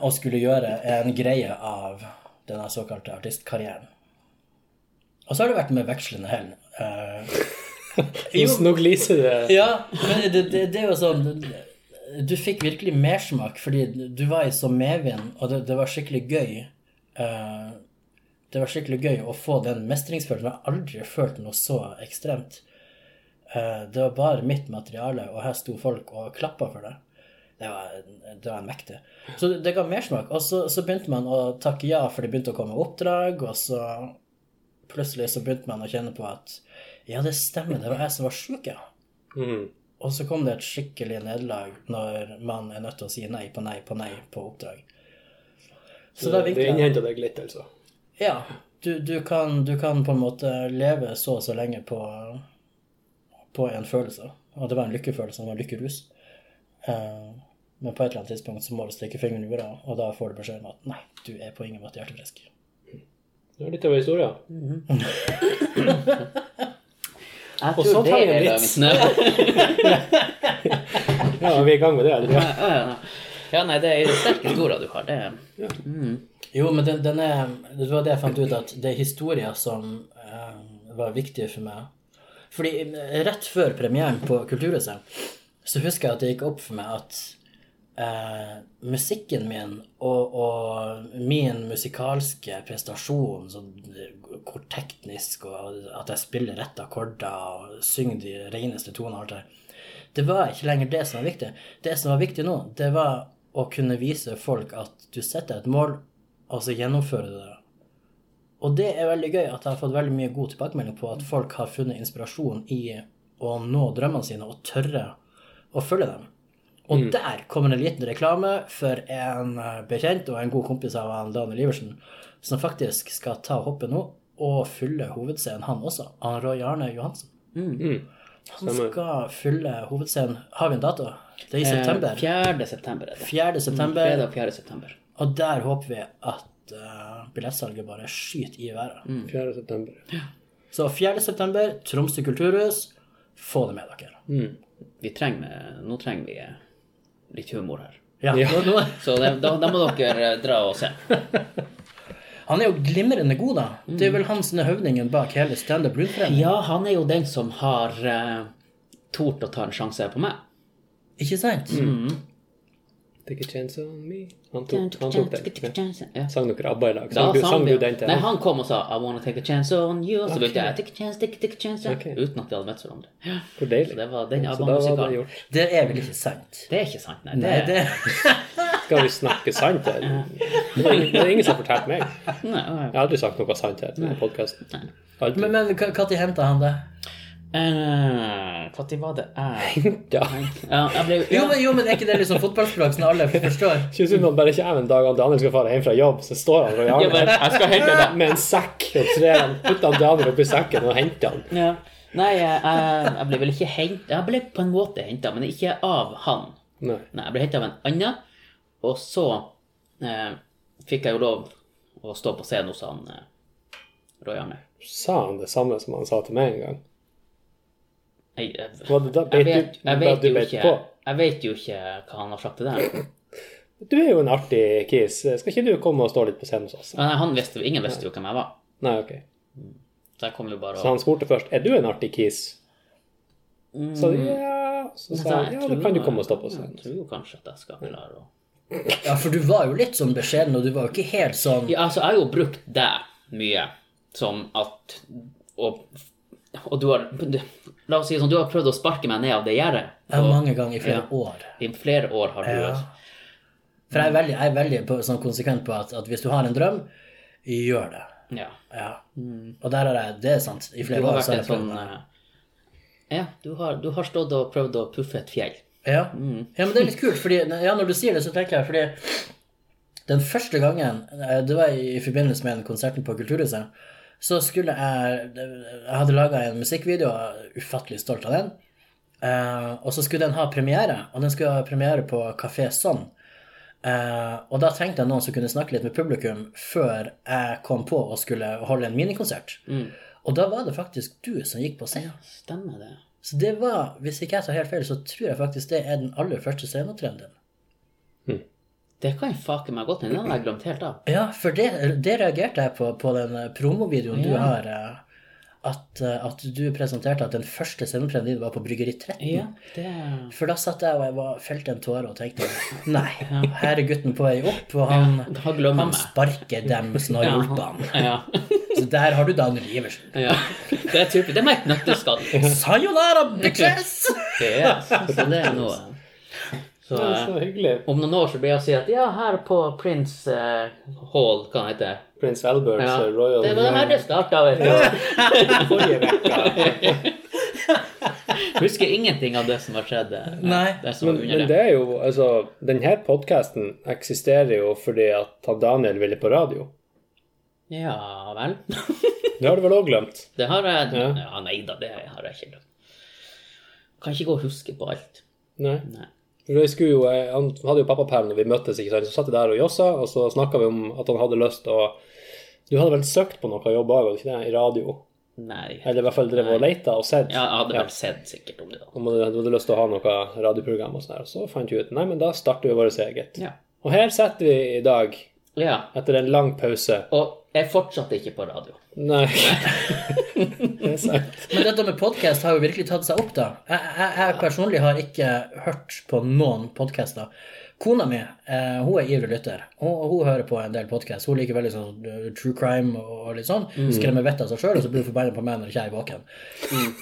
[SPEAKER 3] å skulle gjøre en greie av denne såkalte artistkarrieren. Og så har det vært med vekslende hell. Eh,
[SPEAKER 2] Jo. Nå gliser det.
[SPEAKER 3] ja, men det, det, det er jo sånn Du fikk virkelig mersmak, fordi du var i så medvind, og det, det var skikkelig gøy. Eh, det var skikkelig gøy å få den mestringsfølelsen. Jeg har aldri følt noe så ekstremt. Eh, det var bare mitt materiale, og her sto folk og klappa for det. Det var, det var mektig. Så det ga mersmak. Og så, så begynte man å takke ja, for det begynte å komme oppdrag, og så plutselig så begynte man å kjenne på at ja, det stemmer, det var jeg som var sjuk, ja.
[SPEAKER 2] Mm.
[SPEAKER 3] Og så kom det et skikkelig nederlag når man er nødt til å si nei på nei på nei på oppdrag. Så da
[SPEAKER 2] det
[SPEAKER 3] vinker jeg.
[SPEAKER 2] innhenta deg litt, altså.
[SPEAKER 3] Ja, du, du, kan, du kan på en måte leve så og så lenge på, på en følelse. Og det var en lykkefølelse, det var en lykkerus. Eh, men på et eller annet tidspunkt så må du stikke fingeren i jorda, og da får du beskjed om at nei, du er på ingen måte hjertefrisk.
[SPEAKER 2] Det var litt av historia.
[SPEAKER 1] Jeg
[SPEAKER 2] Og
[SPEAKER 1] tror
[SPEAKER 2] så
[SPEAKER 1] det
[SPEAKER 2] tar vi en
[SPEAKER 1] er
[SPEAKER 2] vits.
[SPEAKER 1] dagens nød.
[SPEAKER 2] Ja, vi er i gang med det allerede.
[SPEAKER 1] Ja, ja, ja. Ja, nei, det er sterke historier du har. Det er eh,
[SPEAKER 3] Jo, men den, den er, det var det jeg fant ut, at det er historier som eh, var viktige for meg. Fordi eh, rett før premieren på Kulturhuset, så husker jeg at det gikk opp for meg at eh, musikken min og, og min musikalske prestasjon, så, hvor teknisk, og at jeg spiller rett akkorder og synger de reneste tonene og alt det der, det var ikke lenger det som var viktig. Det som var viktig nå, det var å kunne vise folk at du setter et mål, og så gjennomfører du det. Og det er veldig gøy at jeg har fått veldig mye god tilbakemelding på at folk har funnet inspirasjon i å nå drømmene sine og tørre å følge dem. Og der kommer en liten reklame for en eh, bekjent og en god kompis av han, Daniel Iversen, som faktisk skal ta hoppet nå og fylle hovedscenen, han også. Han Roy Arne Johansen. Han
[SPEAKER 2] Stemmer.
[SPEAKER 3] skal fylle hovedscenen. Har vi en dato? Det er i september.
[SPEAKER 1] 4. september er det.
[SPEAKER 3] 4. september.
[SPEAKER 1] Eh, Fredag 4. september.
[SPEAKER 3] Og der håper vi at eh, billettsalget bare skyter i været.
[SPEAKER 2] 4. september.
[SPEAKER 3] Så 4. september, Tromsø kulturhus. Få det med dere.
[SPEAKER 1] Vi trenger, nå trenger vi eh, litt humor her.
[SPEAKER 3] Ja, Nå, nå,
[SPEAKER 1] Så det, da, da må dere eh, dra og se.
[SPEAKER 3] han er jo glimrende god, da. Det er vel han som er høvdingen bak hele Standup Lundforening.
[SPEAKER 1] Ja, han er jo den som har eh, tort å ta en sjanse på meg.
[SPEAKER 3] Ikke sant?
[SPEAKER 1] Mm.
[SPEAKER 2] Take a chance on me. Han tok, han tok den. Ja.
[SPEAKER 1] Ja.
[SPEAKER 2] Sang dere ABBA i lag?
[SPEAKER 1] Da
[SPEAKER 2] Sang, du, sang
[SPEAKER 1] vi-
[SPEAKER 2] du den til
[SPEAKER 1] Nei,
[SPEAKER 2] han?
[SPEAKER 1] han kom og sa I wanna take a chance on you. Og så begynte jeg take a chance, take, take a chance ja.
[SPEAKER 2] Ok.
[SPEAKER 1] Uten at vi hadde møtt hverandre. Ja.
[SPEAKER 2] Hvor
[SPEAKER 1] Så
[SPEAKER 2] deilig.
[SPEAKER 1] det var den
[SPEAKER 2] Så da var det
[SPEAKER 1] ABBA-musikalen.
[SPEAKER 2] gjort.
[SPEAKER 3] Det er vel ikke sant?
[SPEAKER 1] Det er ikke sant, nei. Det,
[SPEAKER 3] Nei, det
[SPEAKER 2] Skal vi snakke sant her? Det er ingen- det er ingen som har fortalt meg. Jeg
[SPEAKER 1] nei, nei.
[SPEAKER 2] har aldri sagt noe sant her i podkasten. Aldri.
[SPEAKER 3] Men, men når henta han det?
[SPEAKER 1] Eh, Hva tid var det jeg
[SPEAKER 2] ja.
[SPEAKER 1] ja, Jeg ble
[SPEAKER 3] Jo,
[SPEAKER 1] ja.
[SPEAKER 3] men, jo, men er ikke det liksom fotballspråk som alle forstår?
[SPEAKER 2] Ikke synd om bare ikke jeg en dag han Daniel skal fare hjem fra jobb, så står han Roy
[SPEAKER 1] Jeg, bare,
[SPEAKER 2] Arne
[SPEAKER 1] jeg skal hente deg.
[SPEAKER 2] med en sekk og trer han, putter han Daniel oppi sekken og henter han.
[SPEAKER 1] Ja. Nei, jeg, jeg, jeg ble vel ikke hentet Jeg ble på en måte henta, men ikke av han.
[SPEAKER 2] Nei.
[SPEAKER 1] Nei, jeg ble henta av en annen, og så eh, fikk jeg jo lov å stå på scenen hos han eh, Roy Arne.
[SPEAKER 2] Sa han det samme som han sa til meg en gang?
[SPEAKER 1] eh, Jeg, jeg,
[SPEAKER 2] Var det da
[SPEAKER 1] jeg,
[SPEAKER 2] beit
[SPEAKER 1] vet,
[SPEAKER 2] du,
[SPEAKER 1] jeg,
[SPEAKER 2] da
[SPEAKER 1] vet
[SPEAKER 2] du
[SPEAKER 1] jo
[SPEAKER 2] beit
[SPEAKER 1] ikke,
[SPEAKER 2] på?
[SPEAKER 1] jeg vet jo ikke hva han har sagt til deg.
[SPEAKER 2] Du er jo en artig kis. Skal ikke du komme og stå litt på scenen hos oss?
[SPEAKER 1] Men han visste, ingen visste jo hvem jeg var,
[SPEAKER 2] Nei, ok.
[SPEAKER 1] så jeg kom jo bare
[SPEAKER 2] Så
[SPEAKER 1] og
[SPEAKER 2] han spurte først er du en artig kis. Så
[SPEAKER 1] Mm.
[SPEAKER 2] ja, så sa han ja, da kan du komme og stå på
[SPEAKER 1] Jeg
[SPEAKER 2] scenen.
[SPEAKER 1] tror jo kanskje at jeg skal klare å
[SPEAKER 3] Ja, for du var jo litt sånn beskjeden, og du var jo ikke helt sånn
[SPEAKER 1] Ja, altså, jeg har jo brukt deg mye som at Og, og du har La oss si det sånn, du har prøvd å sparke meg ned av det gjerdet.
[SPEAKER 3] ja,
[SPEAKER 1] og
[SPEAKER 3] mange ganger i flere år.
[SPEAKER 1] I flere år har du
[SPEAKER 3] Ja. For jeg er veldig, jeg er veldig på, sånn konsekvent på at, at hvis du har en drøm, gjør det.
[SPEAKER 1] Ja.
[SPEAKER 3] Ja. Mm. Og der har jeg Det er sant. I
[SPEAKER 1] Du
[SPEAKER 3] flere
[SPEAKER 1] har
[SPEAKER 3] år
[SPEAKER 1] vært
[SPEAKER 3] så
[SPEAKER 1] en
[SPEAKER 3] har jeg
[SPEAKER 1] sånn
[SPEAKER 3] prøvd det.
[SPEAKER 1] eh, Ja, du har, du har stått og prøvd å puffe et fjell.
[SPEAKER 3] Mm. Ja. ja, men det er litt kult, fordi Ja, når du sier det, så tenker jeg fordi Den første gangen, eh, det var i forbindelse med en konserten på Kulturhuset, så skulle jeg Jeg hadde laga en musikkvideo, jeg er ufattelig stolt av den. Eh, og så skulle den ha premiere, og den skulle ha premiere på Kafé Sånn. Eh, og da trengte jeg noen som kunne snakke litt med publikum før jeg kom på og skulle holde en minikonsert.
[SPEAKER 1] Mm.
[SPEAKER 3] Og da var det faktisk du som gikk på scenen.
[SPEAKER 1] Stemmer det.
[SPEAKER 3] Så det var, hvis ikke jeg tar helt feil, så tror jeg faktisk det er den aller første sceneopptredenen.
[SPEAKER 1] Det kan jeg fake meg godt inn i. Den har jeg glemt helt av.
[SPEAKER 3] Ja, for det, det reagerte jeg på på den eh, promovideoen du
[SPEAKER 1] Ja.
[SPEAKER 3] har. eh, At, eh, at du presenterte at den første sceneopptredenen din var på Bryggeri 13.
[SPEAKER 1] Ja, det
[SPEAKER 3] For da satt jeg og jeg var, felte en tåre og tenkte Nei, her er gutten på vei opp, og han,
[SPEAKER 1] Det har glemt
[SPEAKER 3] han
[SPEAKER 1] meg.
[SPEAKER 3] sparker dem som har hjulpet han.
[SPEAKER 1] Ja.
[SPEAKER 3] Så der har du Daniel Iversen.
[SPEAKER 1] ja. Det er typisk. Det er meg et nøkkelskatt.
[SPEAKER 3] Sayonara, bitches!
[SPEAKER 1] Yes. Så det er noe. Så,
[SPEAKER 2] Det er så hyggelig.
[SPEAKER 1] eh, om noen år så blir jeg å si at ja, her på Prince eh, Hall, hva han heter
[SPEAKER 2] Prins Albert
[SPEAKER 1] ja.
[SPEAKER 2] eh, Royal
[SPEAKER 1] Det var det her det starta, vet du.
[SPEAKER 2] forrige uke.
[SPEAKER 1] Husker ingenting av det som har skjedd. eh,
[SPEAKER 3] Nei.
[SPEAKER 1] Det som
[SPEAKER 2] Men,
[SPEAKER 1] var
[SPEAKER 2] men
[SPEAKER 1] under det.
[SPEAKER 2] det er jo Altså, denne podkasten eksisterer jo fordi at han Daniel ville på radio.
[SPEAKER 1] Ja vel.
[SPEAKER 2] Det har du vel òg glemt?
[SPEAKER 1] Det har jeg
[SPEAKER 2] Ja.
[SPEAKER 1] Ja, nei da, det har jeg ikke glemt. Kan ikke gå og huske på alt.
[SPEAKER 2] Nei.
[SPEAKER 1] Nei.
[SPEAKER 2] For jeg skulle jo, eh, han hadde jo pappaperm når vi møttes, ikke sant? så satt jeg der og jossa, og så snakka vi om at han hadde lyst å Du hadde vel søkt på noe jobb òg, ikke det? I radio?
[SPEAKER 1] Nei.
[SPEAKER 2] Eller i hvert fall drevet og leita og sett?
[SPEAKER 1] Ja, jeg hadde vel sett sikkert om det da.
[SPEAKER 2] Om du hadde, hadde lyst til å ha noe radioprogram og sånn her. Og så fant vi ut nei, men da starter vi vårt eget.
[SPEAKER 1] Ja.
[SPEAKER 2] Og her sitter vi i dag,
[SPEAKER 1] ja.
[SPEAKER 2] etter en lang pause.
[SPEAKER 1] Og jeg fortsatte ikke på radio.
[SPEAKER 2] Nei. det er sant.
[SPEAKER 3] Men dette med podkast har jo virkelig tatt seg opp, da. Jeg, jeg, jeg personlig har ikke hørt på noen podkaster. Kona mi eh, hun er ivrig lytter, og hun hører på en del podkast. Hun liker veldig sånn eh, true crime og, og litt sånn.
[SPEAKER 1] Mm.
[SPEAKER 3] Skremmer vettet av seg sjøl, og så blir hun forbanna på meg når ikke jeg er våken.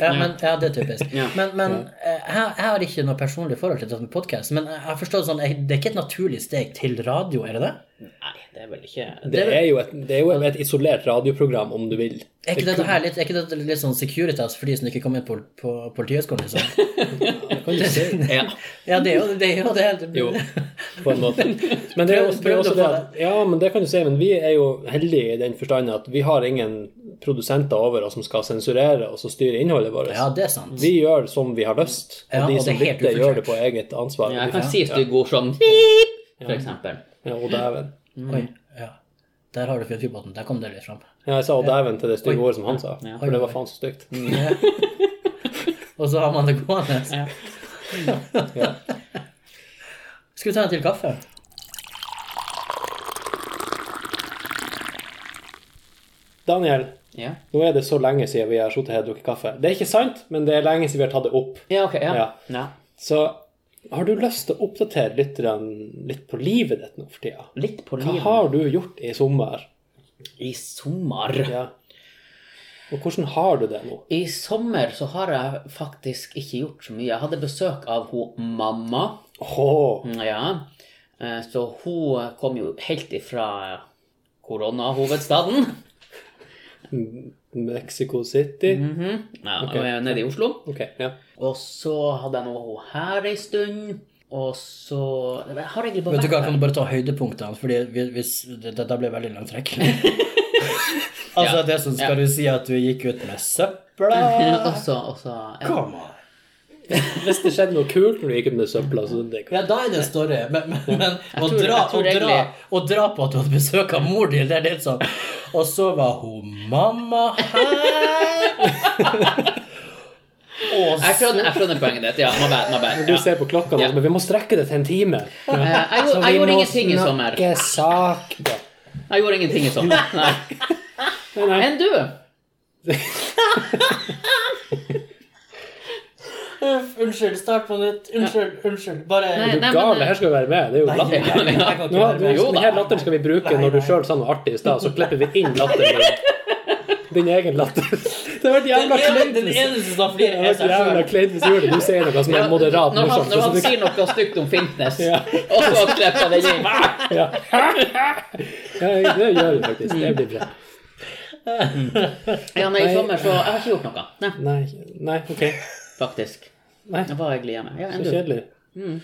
[SPEAKER 3] Ja, men, ja, det er typisk.
[SPEAKER 1] Ja.
[SPEAKER 3] Men, men eh, jeg, jeg har ikke noe personlig forhold til dette med podkast. Men jeg har forstått det sånn, jeg, det er ikke et naturlig steg til radio, er det det?
[SPEAKER 1] Nei, det er vel ikke
[SPEAKER 2] Det er jo et, det er jo et isolert radioprogram, om du vil.
[SPEAKER 3] Er ikke dette her litt, er ikke dette litt sånn Securitas for de som ikke kom inn på, på Politihøgskolen, liksom?
[SPEAKER 2] Kan du si.
[SPEAKER 1] Ja.
[SPEAKER 3] Ja, det er jo det. Er jo det.
[SPEAKER 2] Jo, på en måte. Men det er jo også, det er også det at Ja, men det kan du si. Men vi er jo heldige i den forstand at vi har ingen produsenter over oss som skal sensurere oss og styre innholdet vårt.
[SPEAKER 3] Ja, det er sant.
[SPEAKER 2] Vi gjør som vi har lyst, og
[SPEAKER 3] Ja, og
[SPEAKER 2] de
[SPEAKER 3] det
[SPEAKER 2] som
[SPEAKER 3] er helt
[SPEAKER 2] lytter, gjør det
[SPEAKER 3] ufortjent.
[SPEAKER 2] på eget ansvar.
[SPEAKER 1] Jeg
[SPEAKER 2] Ja,
[SPEAKER 1] kan si stygge ord som pip, sånn for eksempel.
[SPEAKER 2] og dæven.
[SPEAKER 3] Oi, ja. Der har du fjellfyrbåten. Der kom det litt fram.
[SPEAKER 2] Ja, jeg sa og dæven til det stygge ordet som han sa,
[SPEAKER 1] Ja.
[SPEAKER 2] for det var faen så stygt.
[SPEAKER 3] Og så har man det gående.
[SPEAKER 1] Ja.
[SPEAKER 3] Skal vi ta en til kaffe?
[SPEAKER 2] Daniel,
[SPEAKER 1] Ja.
[SPEAKER 2] nå er det så lenge siden vi har sittet her og drukket kaffe. Det er ikke sant, men det er lenge siden vi har tatt det opp.
[SPEAKER 1] ja, ok. Ja.
[SPEAKER 2] Ja.
[SPEAKER 1] Ja.
[SPEAKER 2] Så har du lyst til å oppdatere lytterne litt på livet ditt nå for tida?
[SPEAKER 1] Litt på
[SPEAKER 2] Hva
[SPEAKER 1] livet
[SPEAKER 2] har du gjort i sommer?
[SPEAKER 1] i sommer.
[SPEAKER 2] Ja. Og hvordan har du det nå?
[SPEAKER 1] I sommer så har jeg faktisk ikke gjort så mye. Jeg hadde besøk av hun mamma.
[SPEAKER 2] Åh,
[SPEAKER 1] Ja. Eh, Så hun kom jo helt ifra koronahovedstaden.
[SPEAKER 2] Mexico City?
[SPEAKER 1] Mhm. Ja, hun er Nede i Oslo.
[SPEAKER 2] Ok, ja.
[SPEAKER 1] Og så hadde jeg nå hun her ei stund. Og så jeg har egentlig bare
[SPEAKER 3] Vet du hva,
[SPEAKER 1] vært
[SPEAKER 3] Kan du bare ta høydepunktene? Fordi vi- hvis, Dette ble veldig langt trekk. altså,
[SPEAKER 1] Ja.
[SPEAKER 3] det som skal
[SPEAKER 1] Ja.
[SPEAKER 3] du si at du gikk ut med
[SPEAKER 1] der.
[SPEAKER 3] søpla?
[SPEAKER 1] Og så, og så ja.
[SPEAKER 3] Come on.
[SPEAKER 2] Hvis det skjedde noe kult når du gikk ut med søpla, så det
[SPEAKER 3] Ja, da er det en story. Men, men, men å,
[SPEAKER 1] tror-
[SPEAKER 3] dra,
[SPEAKER 1] jeg tror
[SPEAKER 3] å, dra,
[SPEAKER 1] egentlig-
[SPEAKER 3] å dra på at du hadde besøk av mor din, det er litt sånn Og så var hun mamma her. Og
[SPEAKER 1] Jeg skjønner, jeg skjønner poenget ditt. Ja, my bad, my bad.
[SPEAKER 2] Du
[SPEAKER 1] Ja.
[SPEAKER 2] ser på klokka nå,
[SPEAKER 1] Ja.
[SPEAKER 2] men vi må strekke det til en time.
[SPEAKER 1] Eh, Jeg, gjorde- jeg gjorde ingenting i sommer.
[SPEAKER 2] Vi må snakke sak... Ja.
[SPEAKER 1] Jeg gjorde ingenting i sommer. Nei.
[SPEAKER 2] Nei, nei.
[SPEAKER 1] Enn du?
[SPEAKER 3] Uff, Unnskyld, start på nytt. Unnskyld, unnskyld. Bare
[SPEAKER 1] Nei,
[SPEAKER 2] Du gal, det her skal jo være med. Det er jo
[SPEAKER 3] Nei,
[SPEAKER 2] latter.
[SPEAKER 3] jeg- jeg kan ikke
[SPEAKER 2] Nå,
[SPEAKER 3] være med.
[SPEAKER 2] jo,
[SPEAKER 1] Jo da.
[SPEAKER 2] denne latteren skal vi bruke
[SPEAKER 3] Nei,
[SPEAKER 2] når du
[SPEAKER 3] nei.
[SPEAKER 2] sjøl sa noe artig i stad, så klipper vi inn latteren din. Din egen latter. Det hadde vært
[SPEAKER 3] Den
[SPEAKER 2] jævla
[SPEAKER 3] ene-
[SPEAKER 2] kleint
[SPEAKER 3] den
[SPEAKER 2] hvis-
[SPEAKER 3] eneste som
[SPEAKER 2] det
[SPEAKER 3] flirer,
[SPEAKER 2] hadde
[SPEAKER 3] er
[SPEAKER 2] vært
[SPEAKER 3] seg
[SPEAKER 2] jævla
[SPEAKER 3] sjøl.
[SPEAKER 2] kleint hvis du gjorde det. Du sier noe som er moderat
[SPEAKER 1] når han,
[SPEAKER 2] morsomt.
[SPEAKER 1] når
[SPEAKER 2] så
[SPEAKER 1] han
[SPEAKER 2] du-
[SPEAKER 1] sier noe stygt om Fintnes, og så klipper den inn.
[SPEAKER 2] Ja. ja, det gjør vi faktisk. Det blir bra.
[SPEAKER 1] Ja, nei, i sommer så Jeg har ikke gjort noe. Nei,
[SPEAKER 2] Nei, nei ok.
[SPEAKER 1] faktisk.
[SPEAKER 2] Nei,
[SPEAKER 1] Jeg var egentlig hjemme. Ja, enn
[SPEAKER 2] så
[SPEAKER 1] du?
[SPEAKER 2] kjedelig.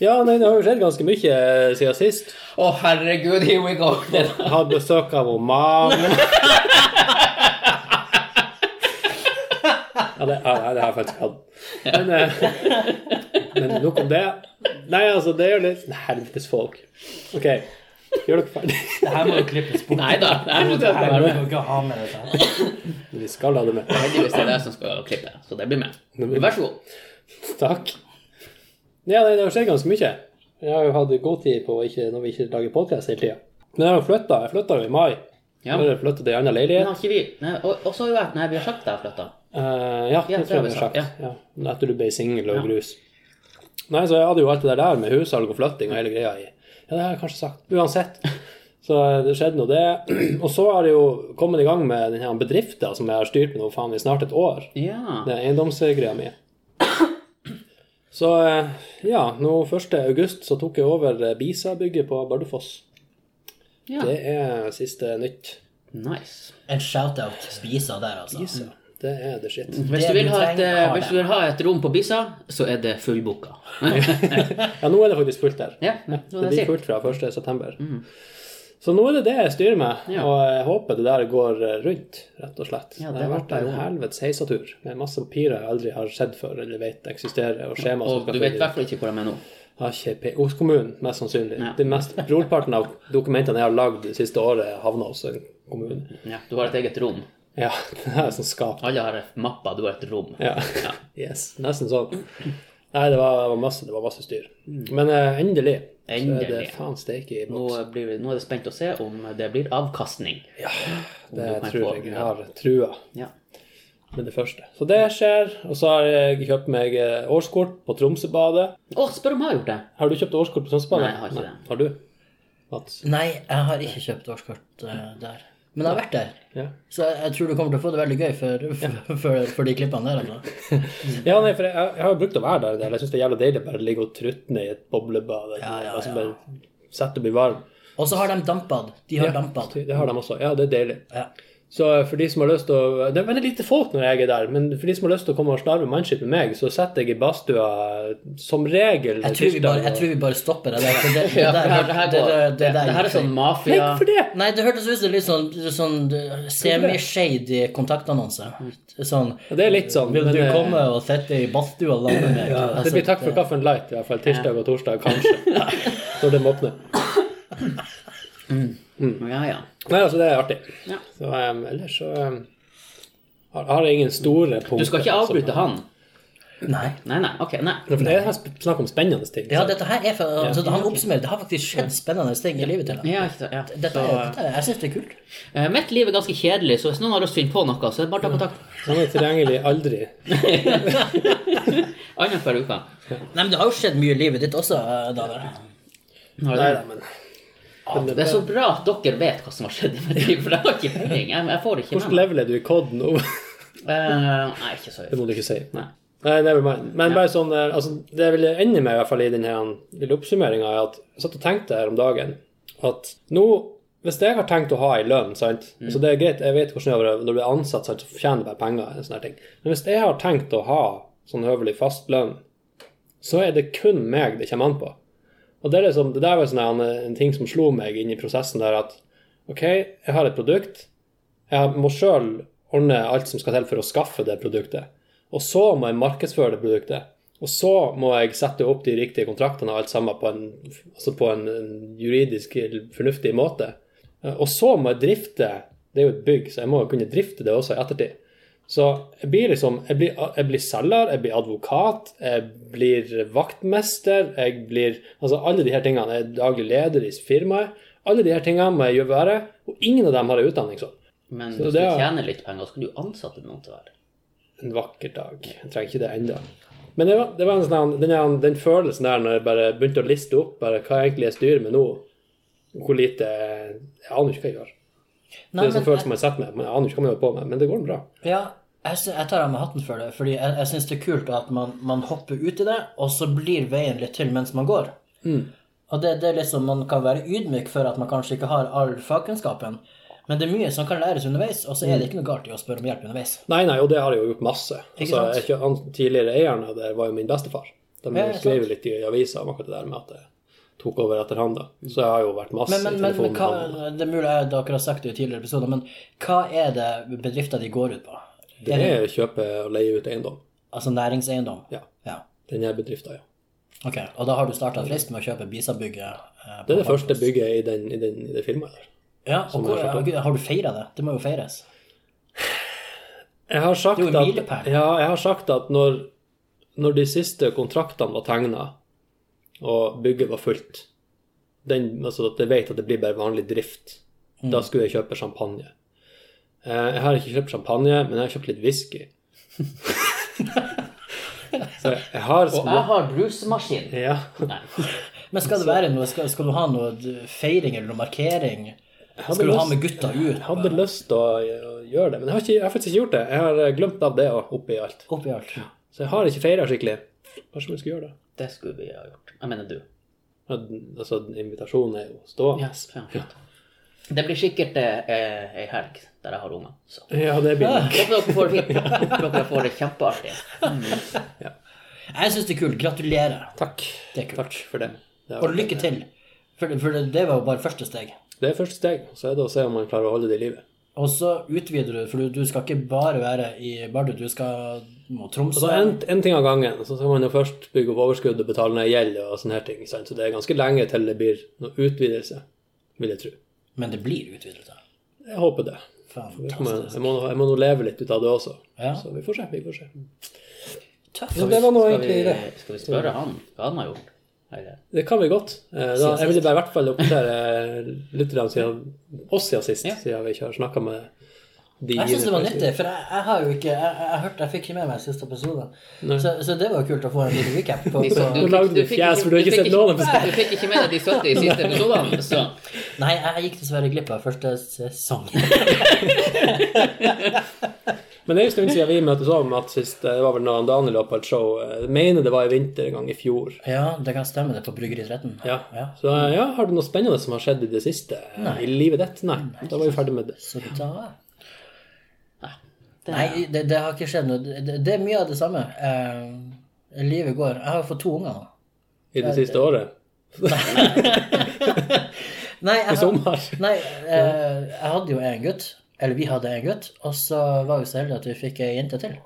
[SPEAKER 2] Ja, nei, det har jo skjedd ganske mye eh, siden sist.
[SPEAKER 1] Å, herregud, here we go! Det
[SPEAKER 2] Jeg har besøk av Oman. Ja, det, ja, nei, det har jeg faktisk hatt. Men, eh, men nok om det. Nei, altså, det er jo litt Helvetes folk. OK, gjør dere ferdig.
[SPEAKER 3] Det her må jo klippes bort.
[SPEAKER 1] Nei da. Det er
[SPEAKER 3] Det her må
[SPEAKER 1] heldigvis
[SPEAKER 3] jo ikke ha med dette her.
[SPEAKER 2] Vi skal ha det med.
[SPEAKER 1] det er jeg som skal klippe, så det blir med. Vær så god.
[SPEAKER 2] Takk. Ja, nei, det har skjedd ganske mye. Jeg har jo hatt god tid på å ikke, når vi ikke lager podkast hele tida. Men jeg har flytta. Jeg flytta jo i mai.
[SPEAKER 1] Ja.
[SPEAKER 2] Jeg har flytta til en annen
[SPEAKER 1] Men
[SPEAKER 2] leilighet.
[SPEAKER 1] har ikke vi Nei, og, og så har jo jeg Nei, vi har sagt det jeg flytta.
[SPEAKER 2] Eh, ja,
[SPEAKER 1] Ja,
[SPEAKER 2] det tror jeg vi har sagt. Ja. Etter du ble singel og grus. Nei, så jeg hadde jo alt det der med hussalg og flytting og hele greia i. Ja, det har jeg kanskje sagt. Uansett. Så eh, det skjedde nå det. Og så har jeg jo kommet i gang med denne bedriften som jeg har styrt med nå faen i snart et år.
[SPEAKER 1] Ja.
[SPEAKER 2] Det er eiendomsgreia mi. Så eh, ja, nå 1. august så tok jeg over eh, Bisa-bygget på Bardufoss.
[SPEAKER 1] ja.
[SPEAKER 2] Det er siste nytt.
[SPEAKER 1] Nice.
[SPEAKER 3] En shout-out spisa der, altså.
[SPEAKER 2] Bisa. Det er det shit.
[SPEAKER 1] Hvis
[SPEAKER 3] Det
[SPEAKER 1] du, vil
[SPEAKER 3] du
[SPEAKER 1] ha et,
[SPEAKER 3] trenger,
[SPEAKER 1] eh,
[SPEAKER 3] har
[SPEAKER 1] hvis du
[SPEAKER 3] det.
[SPEAKER 1] vil ha et rom på Bisa, så er det fullbooka.
[SPEAKER 2] Ja, nå er det faktisk fullt der.
[SPEAKER 1] Ja, det var
[SPEAKER 2] Det
[SPEAKER 1] det jeg
[SPEAKER 2] blir
[SPEAKER 1] sier.
[SPEAKER 2] fullt fra 1. september. Så nå er det det jeg styrer med,
[SPEAKER 1] Ja.
[SPEAKER 2] og jeg håper det der går eh, rundt, rett og slett.
[SPEAKER 1] Ja,
[SPEAKER 2] det,
[SPEAKER 1] det
[SPEAKER 2] har vært
[SPEAKER 1] håper jeg
[SPEAKER 2] en
[SPEAKER 1] også.
[SPEAKER 2] helvetes heisatur med masse papirer jeg aldri har sett før eller vet eksisterer, og skjema
[SPEAKER 1] Og du vet i
[SPEAKER 2] fylles.
[SPEAKER 1] hvert fall ikke hvor de er nå.
[SPEAKER 2] Har ikke pe- Hos kommunen, mest sannsynlig.
[SPEAKER 1] Ja.
[SPEAKER 2] Det mest, brorparten av dokumentene jeg har lagd det siste året, havna hos en kommune.
[SPEAKER 1] Ja, du har et eget rom.
[SPEAKER 2] Ja, det er sånn skap.
[SPEAKER 1] Alle har mappa, du har et rom.
[SPEAKER 2] Ja. Yes, nesten sånn. Nei, det var, det var masse, det var masse styr. Men eh, endelig, så er det
[SPEAKER 1] Mm. Endelig.
[SPEAKER 2] faen steike i
[SPEAKER 1] Nå,
[SPEAKER 2] boks.
[SPEAKER 1] blir vi, nå er det spent å se om det blir avkastning.
[SPEAKER 2] Ja, det
[SPEAKER 1] du kan
[SPEAKER 2] tror
[SPEAKER 1] få-
[SPEAKER 2] jeg jeg
[SPEAKER 1] ja.
[SPEAKER 2] har trua.
[SPEAKER 1] Ja.
[SPEAKER 2] med det første. Så det skjer. Og så har jeg kjøpt meg eh, årskort på Tromsøbadet.
[SPEAKER 1] Å, spør om jeg har gjort det!
[SPEAKER 2] Har du kjøpt årskort på Tromsøbadet?
[SPEAKER 1] Nei, jeg har ikke det.
[SPEAKER 2] Har du? Mats?
[SPEAKER 3] Nei, jeg har ikke kjøpt årskort eh, der. Men jeg har vært der.
[SPEAKER 2] Ja.
[SPEAKER 3] Så jeg tror du kommer til å få det veldig gøy for, for, for, for de klippene der. Altså.
[SPEAKER 2] ja, nei, for jeg, jeg har jo brukt å være der en del. Jeg syns det er jævla deilig å bare ligge og trutne i et boblebad.
[SPEAKER 3] Ja, ja,
[SPEAKER 2] Altså
[SPEAKER 3] ja.
[SPEAKER 2] bare sette og bli varm.
[SPEAKER 3] Og så har de dampad. De har dampad.
[SPEAKER 2] Det har de også. Ja, det er deilig.
[SPEAKER 3] Ja.
[SPEAKER 2] Så eh, for de som har lyst til å Det er veldig lite folk når jeg er der, men for de som har lyst til å komme og snarve mannskip med meg, så setter jeg i badstua eh, som regel
[SPEAKER 3] Jeg tror, vi bare, jeg
[SPEAKER 2] og-
[SPEAKER 3] tror vi bare stopper det der. for Det, det,
[SPEAKER 1] Ja,
[SPEAKER 3] der-
[SPEAKER 1] det her, det her,
[SPEAKER 3] det, det, det, der
[SPEAKER 1] her er
[SPEAKER 3] gikk feil.
[SPEAKER 1] sånn
[SPEAKER 2] Nei,
[SPEAKER 1] mafia...
[SPEAKER 2] for det!
[SPEAKER 3] Nei, det hørtes ut som litt sånn, sånn eh, semi-shady kontaktannonse. Sånn
[SPEAKER 2] Det er litt sånn.
[SPEAKER 3] Vil
[SPEAKER 2] men,
[SPEAKER 3] du
[SPEAKER 2] eh,
[SPEAKER 3] komme og sitte i badstua sammen med Altså, meg?
[SPEAKER 2] det blir takk for kaffen light, i hvert fall tirsdag og torsdag, kanskje. Når de åpner.
[SPEAKER 1] Ja, ja.
[SPEAKER 2] Nei, altså, det er artig.
[SPEAKER 1] Ja.
[SPEAKER 2] Så em, ellers så em, har, har jeg ingen store punkter.
[SPEAKER 1] Du skal ikke avbryte
[SPEAKER 2] som-
[SPEAKER 1] han.
[SPEAKER 3] Nei.
[SPEAKER 1] Nei, nei, ok, nei.
[SPEAKER 2] Nei, For det er her sp- snakk om spennende ting.
[SPEAKER 3] Ja, dette her er for, altså, Han oppsummerer. Det har faktisk skjedd spennende ting i livet til ham.
[SPEAKER 1] Ja, ikke sant, ja.
[SPEAKER 3] Dette,
[SPEAKER 1] Så,
[SPEAKER 3] er- dette, er- jeg syns det er kult.
[SPEAKER 1] eh, mitt liv er ganske kjedelig, så hvis noen har lyst til å finne på noe, så er det bare ta kontakt.
[SPEAKER 2] Han sånn er tilgjengelig aldri.
[SPEAKER 1] Annet hver uke.
[SPEAKER 3] Nei, men Det har jo skjedd mye i livet ditt også, eh, Daniel.
[SPEAKER 1] Har
[SPEAKER 2] Nei
[SPEAKER 1] det-
[SPEAKER 2] da, men
[SPEAKER 1] Det er så bra at dere vet hva som har skjedd i mitt liv, for jeg har ikke peiling. Jeg, jeg får det ikke
[SPEAKER 2] Hvilket
[SPEAKER 1] med meg.
[SPEAKER 2] level er du i COD nå?
[SPEAKER 1] Eh, nei, ikke så
[SPEAKER 2] Det må du ikke si.
[SPEAKER 1] Nei.
[SPEAKER 2] Nei, never mind. Men bare sånn, eh, altså, det jeg ville ende med i hvert fall i denne lille oppsummeringa, er at jeg satt og tenkte her om dagen at nå hvis jeg har tenkt å ha en lønn, sant? så det er greit, jeg vet hvordan jeg gjør det når du blir ansatt, sant? så tjener du bare penger. eller sånne ting. Men hvis jeg har tenkt å ha sånn høvelig fast lønn, så er det kun meg det kommer an på. Og det, er liksom, det der var sånn en, en ting som slo meg inn i prosessen der at OK, jeg har et produkt. Jeg må sjøl ordne alt som skal til for å skaffe det produktet. Og så må jeg markedsføre det produktet. Og så må jeg sette opp de riktige kontraktene og alt sammen på en, altså på en en juridisk fornuftig måte. Og så må jeg drifte. Det er jo et bygg, så jeg må jo kunne drifte det også i ettertid. Så jeg blir liksom Jeg blir, jeg blir selger, jeg blir advokat, jeg blir vaktmester, jeg blir Altså alle de her tingene. Jeg er daglig leder i firmaet. Alle de her tingene må jeg gjøre være, og ingen av dem har jeg utdanning som.
[SPEAKER 1] Men
[SPEAKER 2] Så
[SPEAKER 1] hvis du
[SPEAKER 2] det er-
[SPEAKER 1] tjener litt penger, så kan du jo ansette noen til å være
[SPEAKER 2] en vakker dag. Jeg trenger ikke det ennå. Men det var, det var en sånn, den, her- den følelsen der når jeg bare begynte å liste opp bare, hva egentlig jeg styrer med nå. Hvor lite Jeg aner ikke hva jeg gjør. det
[SPEAKER 3] Nei,
[SPEAKER 2] er en sånn
[SPEAKER 3] men,
[SPEAKER 2] følelse man setter meg, men jeg aner ikke hva man holder på med. Men det går bra.
[SPEAKER 3] ja, jeg, sy- jeg tar av meg hatten for det, fordi jeg, jeg syns det er kult at man, man hopper ut i det, og så blir veien litt til mens man går.
[SPEAKER 2] Mm.
[SPEAKER 3] Og det, det er liksom, Man kan være ydmyk for at man kanskje ikke har all fagkunnskapen, men det er mye som kan læres underveis, og så
[SPEAKER 2] Mm.
[SPEAKER 3] er det ikke noe galt i å spørre om hjelp underveis.
[SPEAKER 2] Nei, nei, og det har jeg jo gjort masse.
[SPEAKER 3] Ikke
[SPEAKER 2] Altså,
[SPEAKER 3] sant?
[SPEAKER 2] jeg, kjø- han tidligere eieren av det var jo min bestefar. De
[SPEAKER 3] Ja, ja,
[SPEAKER 2] skrev jo litt i avisa om akkurat det der med at jeg tok over etter han, da. Så jeg har jo vært masse i
[SPEAKER 3] Mm. Men, men, men,
[SPEAKER 2] telefonen
[SPEAKER 3] men
[SPEAKER 2] med
[SPEAKER 3] hva,
[SPEAKER 2] han.
[SPEAKER 3] det er mulig jeg- dere har sagt det i tidligere episoder, men hva er det bedrifter de går ut på?
[SPEAKER 2] Det er å kjøpe og leie ut eiendom.
[SPEAKER 3] Altså næringseiendom?
[SPEAKER 2] Ja.
[SPEAKER 3] Ja.
[SPEAKER 2] Den her bedriften, ja.
[SPEAKER 3] Ok, og da har du starta frist med å kjøpe Bisabygget? eh,
[SPEAKER 2] Det er
[SPEAKER 3] på
[SPEAKER 2] det
[SPEAKER 3] Markus.
[SPEAKER 2] første bygget i, den, i, den, i det firmaet der.
[SPEAKER 3] Ja, og
[SPEAKER 2] som
[SPEAKER 3] hvor,
[SPEAKER 2] jeg har startet.
[SPEAKER 3] har du feira det? Det må jo feires.
[SPEAKER 2] Jeg har sagt
[SPEAKER 3] Det er jo en
[SPEAKER 2] at,
[SPEAKER 3] milepæl.
[SPEAKER 2] ja, jeg har sagt at når, når de siste kontraktene var tegna, og bygget var fullt den, altså At jeg vet at det blir bare vanlig drift.
[SPEAKER 3] Mm.
[SPEAKER 2] Da skulle jeg kjøpe champagne. Eh, Jeg har ikke kjøpt champagne, men jeg har kjøpt litt whisky. Så jeg har
[SPEAKER 1] Og jeg har brusmaskin.
[SPEAKER 2] Ja.
[SPEAKER 1] Nei.
[SPEAKER 3] Men skal det være noe, skal, skal du ha noe d- feiring eller noe markering?
[SPEAKER 2] hadde
[SPEAKER 3] Skal du ha
[SPEAKER 2] lyst-
[SPEAKER 3] med gutta ut?
[SPEAKER 2] Jeg hadde lyst til å å gjøre det, men jeg har, ikke, jeg har faktisk ikke gjort det. Jeg har eh, glemt av det og oppi alt.
[SPEAKER 3] Oppi alt.
[SPEAKER 2] Så jeg har ikke feira skikkelig. Kanskje vi skulle gjøre det?
[SPEAKER 1] Det skulle vi ha gjort. Jeg mener du.
[SPEAKER 2] Ja, den- Altså, den invitasjonen er jo stående.
[SPEAKER 1] Yes, ja, fint. Det blir sikkert eh, ei helg der jeg har unger. Så.
[SPEAKER 2] Ja, det blir
[SPEAKER 3] Ah.
[SPEAKER 2] nok.
[SPEAKER 1] Håper dere får det fint. Håper dere får det kjempeartig.
[SPEAKER 3] Jeg syns det er kult. Gratulerer.
[SPEAKER 2] Takk.
[SPEAKER 3] Det er kult.
[SPEAKER 2] Takk for det. Det
[SPEAKER 3] Og
[SPEAKER 2] er,
[SPEAKER 3] lykke til. For, det- for det, det var jo bare første steg.
[SPEAKER 2] det er første steg. Så er det å se om man klarer å holde det i livet.
[SPEAKER 3] Og så utvider du, for du, du skal ikke bare være i Bardu, du skal mot Tromsø.
[SPEAKER 2] Altså, en, en ting av gangen. Så skal man jo først bygge opp overskudd og betale ned gjeld og sånne her ting. ikke Sant? Så det er ganske lenge til det blir noen utvidelse, vil jeg tro.
[SPEAKER 3] Men det blir utvidelser.
[SPEAKER 2] Jeg håper det. Jeg må,
[SPEAKER 3] Fantastisk.
[SPEAKER 2] jeg må, jeg må nå leve litt ut av det også.
[SPEAKER 3] Ja.
[SPEAKER 2] Så vi får se. Vi får se.
[SPEAKER 3] Tøft.
[SPEAKER 2] Så det var nå
[SPEAKER 1] Skal vi,
[SPEAKER 2] egentlig det.
[SPEAKER 1] skal vi spørre han hva han har gjort? Eller?
[SPEAKER 2] Det kan vi godt. Eh, Da, jeg ville bare i hvert fall oppdatere lytterne siden oss siden sist,
[SPEAKER 1] Ja.
[SPEAKER 2] siden vi ikke har snakka med de
[SPEAKER 3] Jeg syns det var nyttig, for jeg, jeg har jo ikke Jeg, jeg, jeg, hørte, jeg fikk ikke med meg siste episode.
[SPEAKER 2] Nei.
[SPEAKER 3] Så, så det var jo kult å få en liten recap på,
[SPEAKER 1] Du,
[SPEAKER 3] på
[SPEAKER 2] Nå lagde du fjes, for du har ikke sett noen episode.
[SPEAKER 1] Du fikk ikke med deg de 70 i siste episodene, så
[SPEAKER 3] Nei, jeg gikk dessverre glipp av første sesong.
[SPEAKER 2] Men det er jo en stund siden vi møtes om at sist eh, det var vel når Daniel var på et show. eh, Jeg mener det var i vinter en gang i fjor.
[SPEAKER 3] Ja, det kan stemme, det, på Bryggeri 13.
[SPEAKER 2] Ja. Så eh, ja, har du noe spennende som har skjedd i det siste? eh, I livet ditt? Nei. Da var vi ferdig med det.
[SPEAKER 3] Så da Nei, det, det har ikke skjedd noe. Det- Det, det er mye av det samme. Eh, livet går. Jeg har jo fått to unger nå.
[SPEAKER 2] I det siste året?
[SPEAKER 3] Nei, jeg,
[SPEAKER 2] I
[SPEAKER 3] har-
[SPEAKER 2] sommer?
[SPEAKER 3] nei eh, jeg hadde jo en gutt. Eller vi hadde en gutt. Og så var vi så heldige at vi fikk ei jente til.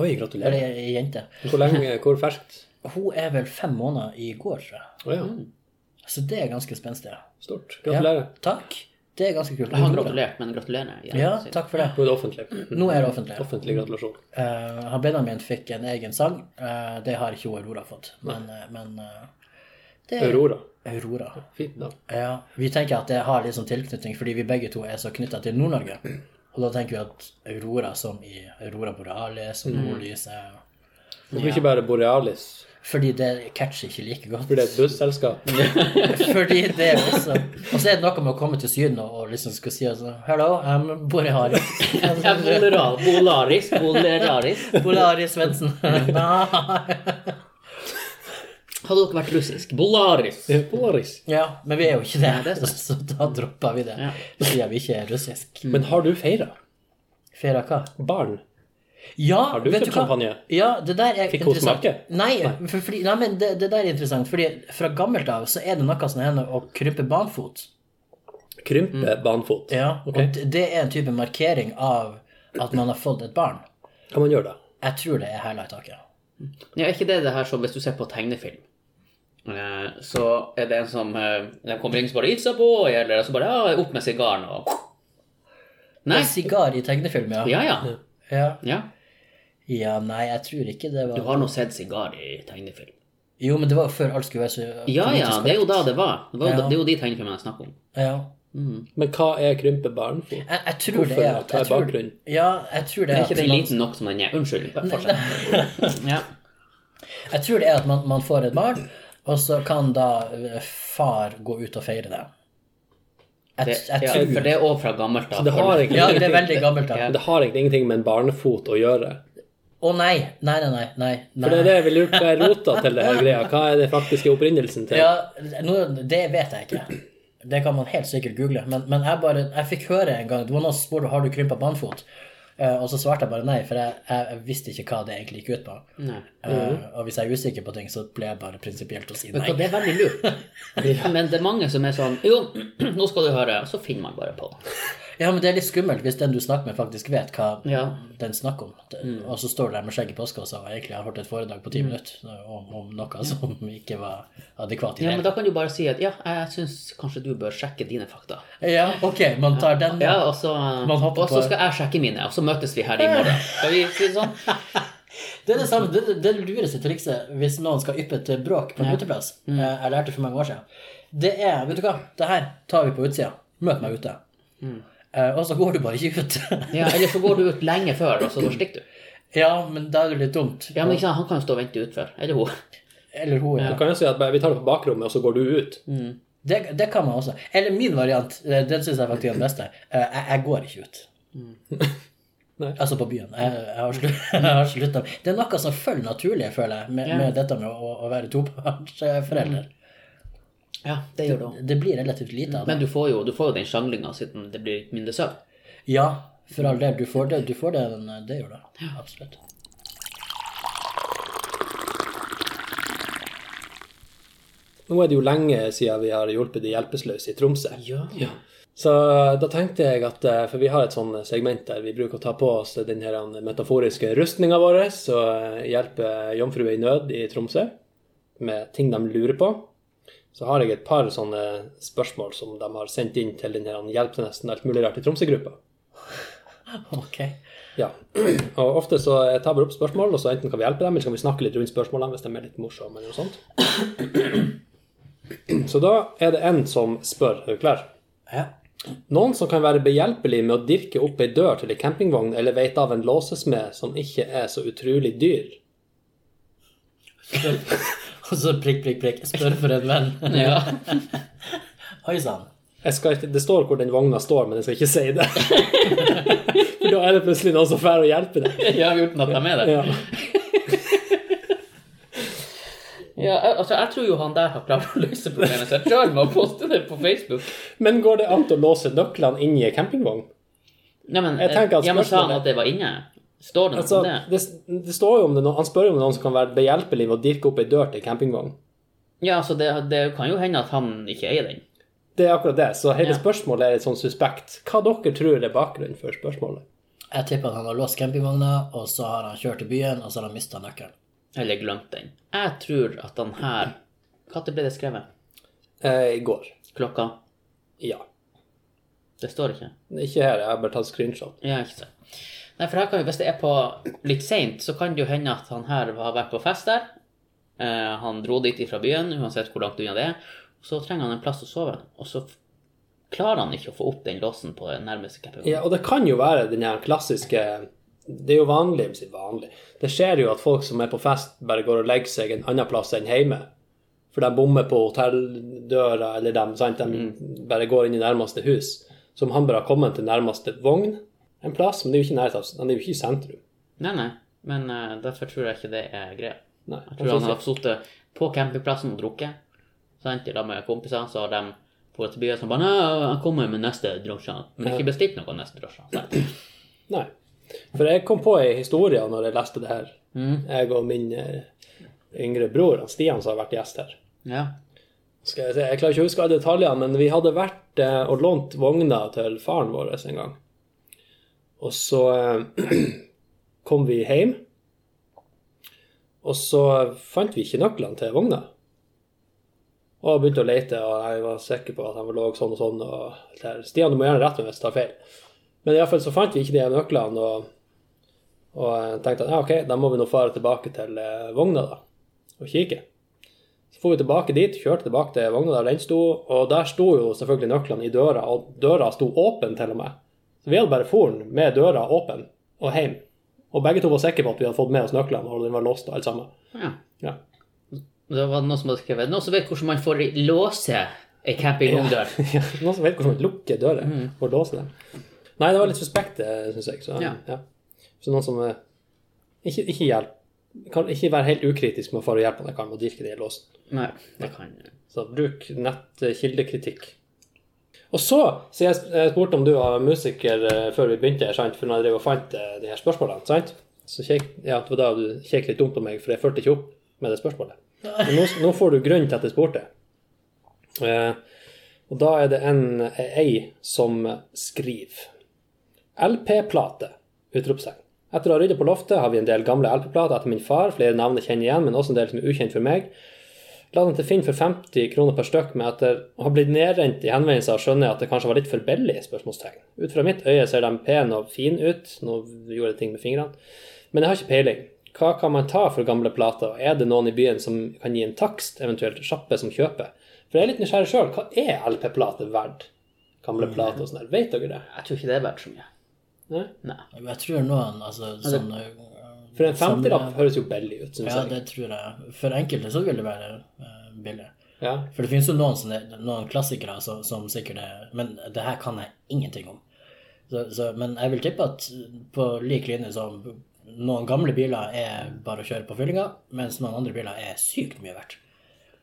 [SPEAKER 2] Oi, gratulerer.
[SPEAKER 3] Eller ei ei jente.
[SPEAKER 2] Hvor lenge? Hvor ferskt?
[SPEAKER 3] Hun er vel fem måneder i går, tror jeg.
[SPEAKER 2] Å ja.
[SPEAKER 3] Så det er ganske spenstig.
[SPEAKER 2] Stort. Gratulerer.
[SPEAKER 3] Ja, takk. Det er ganske kult.
[SPEAKER 1] Jeg har gratulert, men gratulerer. igjen.
[SPEAKER 3] Ja, takk for det.
[SPEAKER 2] Nå er det offentlig.
[SPEAKER 3] Nå er det offentlig.
[SPEAKER 2] Offentlig gratulasjon.
[SPEAKER 3] Eh, han Benjamin fikk en egen sang. Eh, det har ikke hun Aurora fått. Men, eh, men eh, det er
[SPEAKER 2] Aurora.
[SPEAKER 3] Aurora.
[SPEAKER 2] Fint navn.
[SPEAKER 3] Ja, vi tenker at det har litt sånn tilknytning fordi vi begge to er så knytta til Nord-Norge. Og da tenker vi at Aurora som i Aurora Borealis og nordlyset
[SPEAKER 2] Hvorfor ikke bare Borealis?
[SPEAKER 3] Fordi det catcher ikke like godt.
[SPEAKER 2] Blir det er et busselskap?
[SPEAKER 3] Fordi det er også Og så er det noe med å komme til Syden og, og liksom skulle si altså, Hello, I'm Borealis.
[SPEAKER 1] Ja, Bolera- Bolaris, Boleraris.
[SPEAKER 3] Polaris Svendsen. Nei.
[SPEAKER 1] Hadde dere vært russisk? Bolaris.
[SPEAKER 2] Boris.
[SPEAKER 3] ja, men vi er jo ikke det,
[SPEAKER 1] det er sant.
[SPEAKER 3] så da dropper vi det.
[SPEAKER 1] Ja.
[SPEAKER 3] Siden vi ikke er russisk.
[SPEAKER 2] Men har du feira?
[SPEAKER 3] Feira hva?
[SPEAKER 2] Barn?
[SPEAKER 3] Ja,
[SPEAKER 2] Har du
[SPEAKER 3] vet
[SPEAKER 2] kjøpt
[SPEAKER 3] hva?
[SPEAKER 2] champagne?
[SPEAKER 3] Ja, det der er
[SPEAKER 2] Fikk hun
[SPEAKER 3] interessant.
[SPEAKER 2] smake?
[SPEAKER 3] Nei, for, fordi, nei men det, det der er interessant, fordi fra gammelt av så er det noe som hender å krympe barnfot.
[SPEAKER 2] Krympe barnfot?
[SPEAKER 3] Ja,
[SPEAKER 2] Ok.
[SPEAKER 3] Og det- det er en type markering av at man har fått et barn.
[SPEAKER 2] Kan man gjøre det?
[SPEAKER 3] Jeg tror det er hæla i taket.
[SPEAKER 1] Ja, er ikke det det her som hvis du ser på tegnefilm, eh, så er det en som eh, De kommer inn og bare 'It's a boy', eller så bare ja, 'Opp med sigaren', og Nei.
[SPEAKER 3] En sigar i tegnefilm, ja.
[SPEAKER 1] Ja, ja.
[SPEAKER 3] ja.
[SPEAKER 1] ja.
[SPEAKER 3] Ja, nei, jeg tror ikke det
[SPEAKER 1] Du
[SPEAKER 3] var
[SPEAKER 1] har nå sett sigar i tegnefilm.
[SPEAKER 3] Jo, men det var jo før alt skulle være så
[SPEAKER 1] Ja, ja, det er jo da det var. Det, var, jo-
[SPEAKER 3] Ja.
[SPEAKER 1] det er jo de tegnefilmene jeg snakker om.
[SPEAKER 3] ja.
[SPEAKER 2] Men hva er krympe barnfot?
[SPEAKER 3] Jeg, jeg tror
[SPEAKER 2] Hvorfor?
[SPEAKER 3] det er at-
[SPEAKER 2] Hva er
[SPEAKER 3] jeg tror-
[SPEAKER 2] bakgrunnen?
[SPEAKER 3] Ja, jeg tror det
[SPEAKER 1] Er
[SPEAKER 3] er
[SPEAKER 1] ikke
[SPEAKER 3] at
[SPEAKER 1] den
[SPEAKER 3] man-
[SPEAKER 1] liten nok som den er? Unnskyld. bare Fortsett. Ja.
[SPEAKER 3] Jeg tror det er at man, man får et barn, og så kan da eh, far gå ut og feire det. Jeg,
[SPEAKER 1] Det,
[SPEAKER 3] jeg
[SPEAKER 1] ja,
[SPEAKER 3] tror
[SPEAKER 1] for det er òg fra gammelt av.
[SPEAKER 2] Det har
[SPEAKER 1] For-
[SPEAKER 2] egentlig,
[SPEAKER 3] Ja, det er veldig gammelt, da.
[SPEAKER 1] Ja.
[SPEAKER 3] Å
[SPEAKER 2] det har egentlig ingenting med en barnefot å gjøre.
[SPEAKER 3] nei, nei, nei, nei. nei,
[SPEAKER 2] For det
[SPEAKER 3] nei.
[SPEAKER 2] er det vi lurer på er rota til det her greia. Hva er det faktiske opprinnelsen til?
[SPEAKER 3] Ja, nå- det vet jeg ikke. Det kan man helt sikkert google. Men, men jeg bare, jeg fikk høre en gang Det var noen som spurte har du krympa barnfot. Eh, og så svarte jeg bare nei, for jeg, jeg, jeg visste ikke hva det egentlig gikk ut på.
[SPEAKER 2] Mm.
[SPEAKER 1] Nei.
[SPEAKER 3] Eh, og hvis jeg er usikker på ting, så ble jeg bare prinsipielt å si
[SPEAKER 1] Vet du hva,
[SPEAKER 3] nei.
[SPEAKER 1] det er veldig lurt. Men det er mange som er sånn Jo, nå skal du høre. Og så finner man bare på.
[SPEAKER 3] Ja, men det er litt skummelt hvis den du snakker med, faktisk vet hva
[SPEAKER 1] Ja. Mm.
[SPEAKER 3] den snakker om. Det- Og så står du der med skjegg i postkassa og egentlig har holdt et foredrag på ti minutter om, om noe som ikke var adekvat i
[SPEAKER 1] Ja,
[SPEAKER 3] det.
[SPEAKER 1] men da kan du bare si at ja, jeg syns kanskje du bør sjekke dine fakta.
[SPEAKER 3] Ja, ok, man tar den.
[SPEAKER 1] Ja,
[SPEAKER 3] da.
[SPEAKER 1] og så,
[SPEAKER 3] Man hopper
[SPEAKER 1] og så
[SPEAKER 3] på-
[SPEAKER 1] skal jeg sjekke mine, og så møtes vi her i morgen. Skal vi si det sånn?
[SPEAKER 3] Det er det samme, det, det lureste trikset hvis noen skal yppe til bråk på en uteplass.
[SPEAKER 1] Mm.
[SPEAKER 3] Eh, Jeg lærte det for mange år siden. Det er, vet du hva, det her tar vi på utsida. Møt meg ute. Eh, Og så går du bare ikke ut.
[SPEAKER 1] Mm. Ja, eller så går du ut lenge før, og så stikker du.
[SPEAKER 3] ja, men da er det litt dumt.
[SPEAKER 1] Ja, men ikke sant, Han kan jo stå og vente utfor. Eller hun.
[SPEAKER 3] Eller hun.
[SPEAKER 2] Du
[SPEAKER 3] Ja.
[SPEAKER 2] kan jo si at bare, vi tar det på bakrommet, og så går du ut.
[SPEAKER 3] Det, det kan man også. Eller min variant, eh, den syns jeg faktisk er den beste. Eh, Jeg, jeg går ikke ut.
[SPEAKER 1] Mm.
[SPEAKER 2] Nei.
[SPEAKER 3] Altså på byen. Jeg, jeg har slu- jeg har slutta. Det er noe som følger naturlig, føler jeg, med,
[SPEAKER 1] Ja.
[SPEAKER 3] med dette med å, å være tobarnsforelder.
[SPEAKER 1] Ja, det gjør du også.
[SPEAKER 3] Det blir relativt lite av det.
[SPEAKER 1] Men du får jo, du får jo den sjanglinga siden det blir mindre søvn.
[SPEAKER 3] Ja, for all del. Du får det, du får det, men eh, det gjør det. Absolutt.
[SPEAKER 2] Nå er det jo lenge siden vi har hjulpet de hjelpeløse i Tromsø.
[SPEAKER 1] Ja.
[SPEAKER 2] Så da tenkte jeg at, eh, for vi har et sånn segment der vi bruker å ta på oss den her eh, metaforiske rustninga vår og eh, hjelpe jomfruer i nød i Tromsø med ting de lurer på. Så har jeg et par sånne spørsmål som de har sendt inn til den her Hjelp til nesten alt mulig rart i Tromsø-gruppa.
[SPEAKER 3] Ok.
[SPEAKER 2] Ja. Og ofte så jeg tar bare opp spørsmål, og så enten kan vi hjelpe dem, eller så kan vi snakke litt rundt spørsmålene hvis de er litt morsomme eller noe sånt. Så da er det en som spør. Er du klar?
[SPEAKER 3] Ja.
[SPEAKER 2] Noen som kan være behjelpelig med å dirke opp ei dør til ei campingvogn, eller veit av en låsesmed som ikke er så utrolig dyr.
[SPEAKER 3] Og så prikk, prikk, prikk. Spør for en venn.
[SPEAKER 1] Ja.
[SPEAKER 3] Oi sann.
[SPEAKER 2] Jeg skal ikke, det står hvor den vogna står, men jeg skal ikke si det. For da er det plutselig noen som drar og hjelper deg.
[SPEAKER 1] ja, uten at de er med der.
[SPEAKER 2] Ja.
[SPEAKER 1] Ja, altså, jeg tror jo han der har klart å løse problemet sitt sjøl med å poste det på Facebook.
[SPEAKER 2] Men går det an å låse nøklene inni ei campingvogn?
[SPEAKER 1] Nei, men,
[SPEAKER 2] Jeg tenker at
[SPEAKER 1] ja, men sa han
[SPEAKER 2] spørsmålet-
[SPEAKER 1] at det var inne? Står det noe
[SPEAKER 2] Altså,
[SPEAKER 1] om det?
[SPEAKER 2] det, det står jo om det, no- han spør jo om det er noen som kan være behjelpelig med å dirke opp ei dør til ei campingvogn.
[SPEAKER 1] Ja, så det, det kan jo hende at han ikke eier den.
[SPEAKER 2] Det er akkurat det. Så hele
[SPEAKER 1] Ja.
[SPEAKER 2] spørsmålet er litt sånn suspekt. Hva dere tror er bakgrunnen for spørsmålet?
[SPEAKER 3] Jeg tipper at han har låst campingvogna, og så har han kjørt til byen, og så har han mista nøkkelen.
[SPEAKER 1] Eller glemt den. Jeg tror at han her Når ble det skrevet?
[SPEAKER 2] Eh, I går.
[SPEAKER 1] Klokka?
[SPEAKER 2] Ja.
[SPEAKER 1] Det står ikke.
[SPEAKER 2] Ikke her, jeg har bare tatt screenshot.
[SPEAKER 1] Ja, ikke sant. Nei, for her kan jo, hvis det er på litt seint, så kan det jo hende at han her har vært på fest der. Eh, han dro dit fra byen, uansett hvor langt unna det er. Så trenger han en plass å sove, og så f- klarer han ikke å få opp den låsen på den nærmeste campingvogn.
[SPEAKER 2] Ja, og det kan jo være den her klassiske Det er jo vanlig, jeg vil si vanlig. Det skjer jo at folk som er på fest, bare går og legger seg en annen plass enn hjemme. For de bommer på hotelldøra, eller de, sant? de
[SPEAKER 1] Mm.
[SPEAKER 2] bare går inn i nærmeste hus. Som han bare har kommet til nærmeste vogn. En plass, men det er jo ikke i nærheten av- han er jo ikke i sentrum.
[SPEAKER 1] Nei, nei, men eh, derfor tror jeg ikke det er greia.
[SPEAKER 2] Nei. altså,
[SPEAKER 1] Jeg tror han har sittet på campingplassen og drukket. Sant, i lag med kompiser, så har de dratt til byen og bare Nei, jeg kommer med neste drosje. Men ikke bestilt noe neste drosje. sant?
[SPEAKER 2] Nei. For jeg kom på ei historie når jeg leste det her.
[SPEAKER 1] Mm.
[SPEAKER 2] Jeg og min eh, yngre bror, han Stian, som har vært gjest her.
[SPEAKER 1] Ja.
[SPEAKER 2] skal jeg, si, jeg klarer ikke å huske alle detaljene, men vi hadde vært eh, og lånt vogna til faren vår en gang. Og så eh, kom vi hjem, og så fant vi ikke nøklene til vogna. Og begynte å lete, og jeg var sikker på at han lå sånn og sånn. og alt det her. Stian, du må gjerne rette meg hvis jeg tar feil. Men iallfall så fant vi ikke de her nøklene, og, og jeg tenkte at ja, ok, da må vi nå fare tilbake til eh, vogna da, og kikke. Så for vi tilbake dit, kjørte tilbake til vogna der den sto, og der sto jo selvfølgelig nøklene i døra, og døra sto åpen til og med. Så vi hadde bare foren med døra åpen og hjem. Og begge to var sikre på at vi hadde fått med oss nøklene, og den var låst og alt sammen.
[SPEAKER 1] ja.
[SPEAKER 2] Ja.
[SPEAKER 1] Det var noen som hadde skrevet Noen som vet hvordan man får låse ei campingvogndør.
[SPEAKER 2] Ja, Mm. Noen som vet hvordan man lukker dører og låser dem. Nei, det var litt suspekt, syns jeg. Så,
[SPEAKER 1] Ja.
[SPEAKER 2] ja. så noen som eh, ikke, ikke hjelp. Kan ikke være helt ukritisk med å få hjelp når jeg kan, og dirke det i låsen.
[SPEAKER 1] Nei, det kan
[SPEAKER 2] Så bruk nettkildekritikk. Og så, så jeg, jeg spurte om du var musiker eh, før vi begynte, her, sant? for når jeg drev og fant eh, de her spørsmålene, sant? så kjekk, ja, det var da du kjekket litt dumt på meg, for jeg fulgte ikke opp med det spørsmålet. Men nå, nå får du grunn til at jeg spurte. Eh, og da er det en eh, ei som skriver LP-plate! Utropstegn. Etter å ha ryddet på loftet har vi en del gamle LP-plater etter min far, flere navn jeg kjenner igjen, men også en del som er ukjent for meg. La den til Finn for 50 kroner per stykk, men etter å ha blitt nedrent i henvendelser skjønner jeg at det kanskje var litt for billig? spørsmålstegn. Ut fra mitt øye ser de pen og fin ut, nå gjorde jeg ting med fingrene, men jeg har ikke peiling. Hva kan man ta for gamle plater, og er det noen i byen som kan gi en takst, eventuelt sjappe som kjøper? For jeg er litt nysgjerrig sjøl, hva er LP-plater verdt?
[SPEAKER 3] Mm.
[SPEAKER 2] Gamle plater og sånn der, vet dere det?
[SPEAKER 1] Jeg tror ikke det er verdt så mye.
[SPEAKER 2] Nei?
[SPEAKER 1] Nei.
[SPEAKER 3] Jeg tror noen altså, sånn, eh,
[SPEAKER 2] For en
[SPEAKER 3] sånn,
[SPEAKER 2] 50-lapp høres jo billig ut, syns
[SPEAKER 3] Ja,
[SPEAKER 2] jeg.
[SPEAKER 3] det tror jeg. For enkelte så vil det være eh, billig.
[SPEAKER 2] Ja.
[SPEAKER 3] For det finnes jo noen, som er- noen klassikere som, som sikkert er Men det her kan jeg ingenting om. Så, så, men jeg vil tippe at på lik linje som noen gamle biler er bare å kjøre på fyllinga, mens noen andre biler er sykt mye verdt.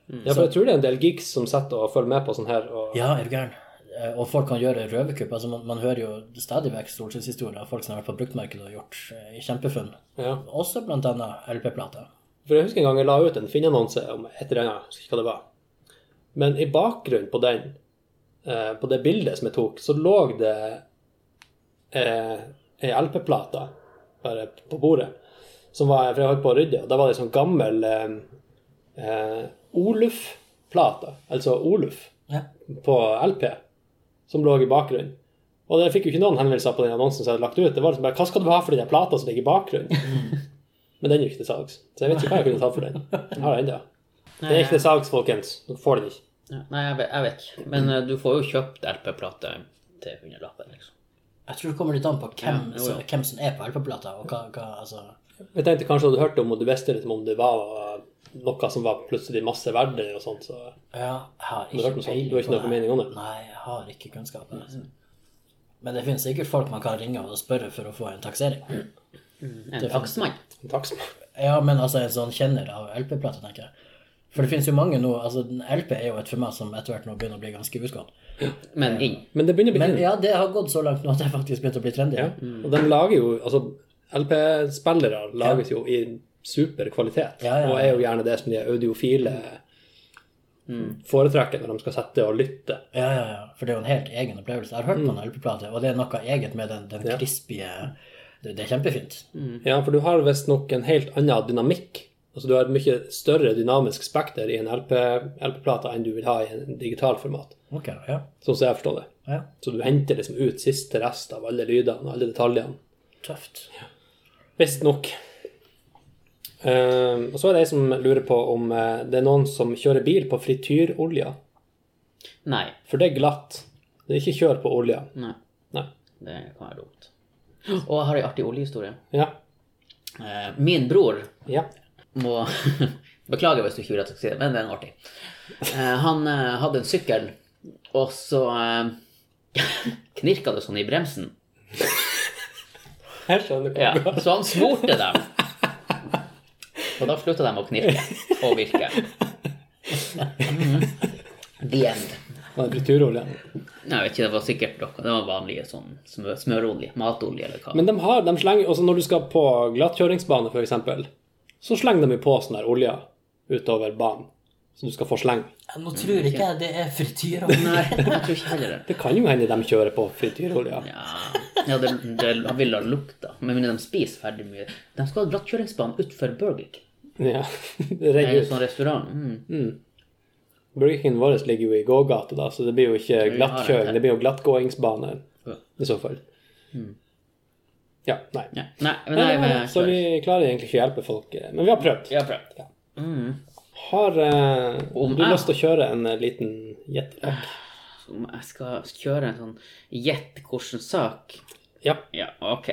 [SPEAKER 3] Mm.
[SPEAKER 2] ja, for jeg tror det er en del gigs som sitter og følger med på sånn her. Og...
[SPEAKER 3] Ja, er du gæren? Eh, Og folk kan gjøre røverkupp. Altså, man, man hører jo stadig vekk solskinnshistorier av folk som har vært på bruktmarkedet og gjort eh, kjempefunn.
[SPEAKER 2] Ja.
[SPEAKER 3] Også blant annet LP-plater.
[SPEAKER 2] For jeg husker en gang jeg la ut en Finn-annonse om et eller annet, jeg husker ikke hva det var. Men i bakgrunnen på den, eh, på det bildet som jeg tok, så lå det eh, ei LP-plate bare på bordet. Som var, for jeg holdt på å rydde, og da var det en sånn gammel eh, eh, Oluf-plate, altså Oluf,
[SPEAKER 3] Ja.
[SPEAKER 2] på LP, som lå i bakgrunnen. Og jeg fikk jo ikke noen henvendelser på den annonsen som jeg hadde lagt ut. Det var liksom bare, hva skal du ha for den plata som ligger i bakgrunnen? Men den er jo ikke til salgs. Så jeg vet ikke hva jeg kunne tatt for den. Jeg har den ennå. Den er ikke til salgs, folkens. Dere får den ikke.
[SPEAKER 1] Ja, Nei, jeg vet, jeg vet ikke. Men eh, du får jo kjøpt LP-plate til 100 lapper, liksom.
[SPEAKER 3] Jeg tror det kommer litt an på hvem,
[SPEAKER 1] Ja, jo, jo.
[SPEAKER 3] som- hvem som er på LP-plata, og hva, hva altså
[SPEAKER 2] Jeg tenkte kanskje du hadde hørt om og du visste litt om det var noe som var plutselig masse verdt eller noe sånt. Så.
[SPEAKER 3] Ja, jeg har
[SPEAKER 2] har hørt
[SPEAKER 3] ikke
[SPEAKER 2] noe sånt? Du har ikke noe formening om det?
[SPEAKER 3] Nei, jeg har ikke kunnskapen. Altså.
[SPEAKER 1] Mm.
[SPEAKER 3] Men det finnes sikkert folk man kan ringe og spørre for å få en taksering.
[SPEAKER 1] En takstmann.
[SPEAKER 2] Takk skal du ha.
[SPEAKER 3] Ja, men altså en sånn kjenner av LP-plater, tenker jeg. For det finnes jo mange nå altså den LP er jo et format som etter hvert nå begynner å bli ganske utgått.
[SPEAKER 1] Men inn.
[SPEAKER 2] Men det begynner å bli
[SPEAKER 3] Men
[SPEAKER 2] inn.
[SPEAKER 3] ja, det har gått så langt nå at det faktisk begynte å bli trendy.
[SPEAKER 2] Ja. Og de lager jo Altså, LP-spillere lages jo i super kvalitet.
[SPEAKER 3] Ja, ja, Mm. ja.
[SPEAKER 2] Og er jo gjerne det som de audiofile foretrekker når de skal sette og lytte.
[SPEAKER 3] Ja, ja, ja. For det er jo en helt egen opplevelse. Jeg har hørt på en LP-plate, og det er noe eget med den, den
[SPEAKER 2] Mm. Ja.
[SPEAKER 3] krispige det, det er kjempefint.
[SPEAKER 1] Mm.
[SPEAKER 2] Ja, for du har visstnok en helt annen dynamikk. Altså du har et mye større dynamisk spekter i en LP-plate enn du vil ha i en digital format.
[SPEAKER 3] Ok, ja.
[SPEAKER 2] Sånn som jeg forstår det.
[SPEAKER 3] ja.
[SPEAKER 2] Så du henter liksom ut siste rest av alle lydene og alle detaljene.
[SPEAKER 3] Tøft.
[SPEAKER 2] Visstnok. Uh, og så er det ei som lurer på om eh, det er noen som kjører bil på frityrolja.
[SPEAKER 1] Nei.
[SPEAKER 2] For det er glatt. Det er ikke kjør på olja.
[SPEAKER 1] Nei.
[SPEAKER 2] Nei.
[SPEAKER 1] Det kan være dumt. Og jeg har ei artig oljehistorie.
[SPEAKER 2] Ja.
[SPEAKER 1] Eh, Min bror
[SPEAKER 2] Ja.
[SPEAKER 1] må Beklager hvis du ikke vil at jeg skal si det, men det er en artig. Eh, Han eh, hadde en sykkel, og så eh, knirka det sånn i bremsen.
[SPEAKER 2] Jeg skjønner hva
[SPEAKER 1] Ja, så han smurte dem. Og da slutta de å knirke og virke. Mhm. The end.
[SPEAKER 2] ja. frityrolja.
[SPEAKER 1] Nei, Jeg vet ikke, det var sikkert noe. Det var vanlige sånn smø- smørolje, matolje eller hva.
[SPEAKER 2] Men de har, de slenger, også når du skal på glattkjøringsbane for eksempel, så slenger de jo på sånn der olje utover banen, så du skal få sleng.
[SPEAKER 3] Nå tror ikke jeg det er frityr.
[SPEAKER 1] Nei, jeg tror ikke heller det.
[SPEAKER 2] Det kan jo hende de kjører på frityrolje.
[SPEAKER 1] Ja, ja det, det vil ha lukta. Men mener de spiser ferdig mye. De skal ha glattkjøringsbane utenfor Burger King.
[SPEAKER 2] Ja. Det
[SPEAKER 1] Det er
[SPEAKER 2] renner
[SPEAKER 1] jo
[SPEAKER 2] ut.
[SPEAKER 1] sånn restaurant. Mm.
[SPEAKER 2] Burger Kingen vår ligger jo i gågata, da, så det blir jo ikke
[SPEAKER 1] Ja,
[SPEAKER 2] glattkjøring, det blir jo glattgåingsbane
[SPEAKER 1] Ja. Mm.
[SPEAKER 2] i så fall. Ja, nei.
[SPEAKER 1] Ja. Nei, men
[SPEAKER 2] Nei,
[SPEAKER 1] nei,
[SPEAKER 2] nei,
[SPEAKER 1] men
[SPEAKER 2] så vi klarer egentlig ikke å hjelpe folk, eh, men vi har prøvd.
[SPEAKER 1] Jeg har prøvd.
[SPEAKER 2] Ja.
[SPEAKER 1] Mm.
[SPEAKER 2] Har eh,
[SPEAKER 1] Om
[SPEAKER 2] du
[SPEAKER 1] jeg-
[SPEAKER 2] lyst til å kjøre en eh, liten jetpack?
[SPEAKER 1] Om jeg skal kjøre en sånn gjett hvilken sak
[SPEAKER 2] Ja.
[SPEAKER 1] Ja, OK.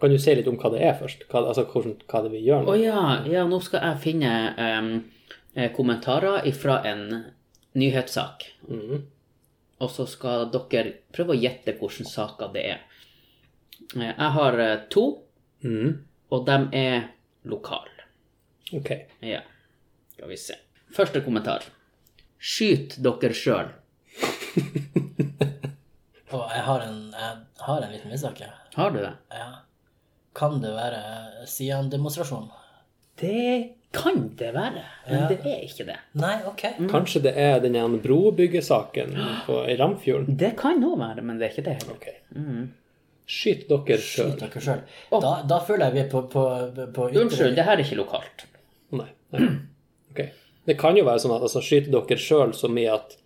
[SPEAKER 2] Kan du si litt om hva det er først? Hva, altså hvordan, hva det er vi gjør nå?
[SPEAKER 1] Å ja, ja, nå skal jeg finne em, eh, kommentarer ifra en nyhetssak. Og så skal dere prøve å gjette hvilken saker det er. Eh, Jeg har eh, to,
[SPEAKER 2] Mhm.
[SPEAKER 1] og de er lokale.
[SPEAKER 2] Ok.
[SPEAKER 1] Ja, skal vi se. Første kommentar. Skyt dere sjøl.
[SPEAKER 3] Og jeg har en, jeg har en liten mistanke.
[SPEAKER 1] Har du det?
[SPEAKER 3] Ja. Kan det være Sian-demonstrasjon?
[SPEAKER 1] Det kan det være, men det er ikke det.
[SPEAKER 3] Nei, ok.
[SPEAKER 2] Kanskje det er den ene brobyggesaken på, i Ramfjorden?
[SPEAKER 1] Det kan òg være, men det er ikke det heller.
[SPEAKER 2] Ok. Skyt dere sjøl.
[SPEAKER 3] Mm. Skyt dere sjøl. Da, da føler jeg vi er på, på, på ytre-
[SPEAKER 1] Unnskyld, det her er ikke lokalt.
[SPEAKER 2] Nei. nei. Ok. Det kan jo være sånn at altså, skyter dere sjøl så mye at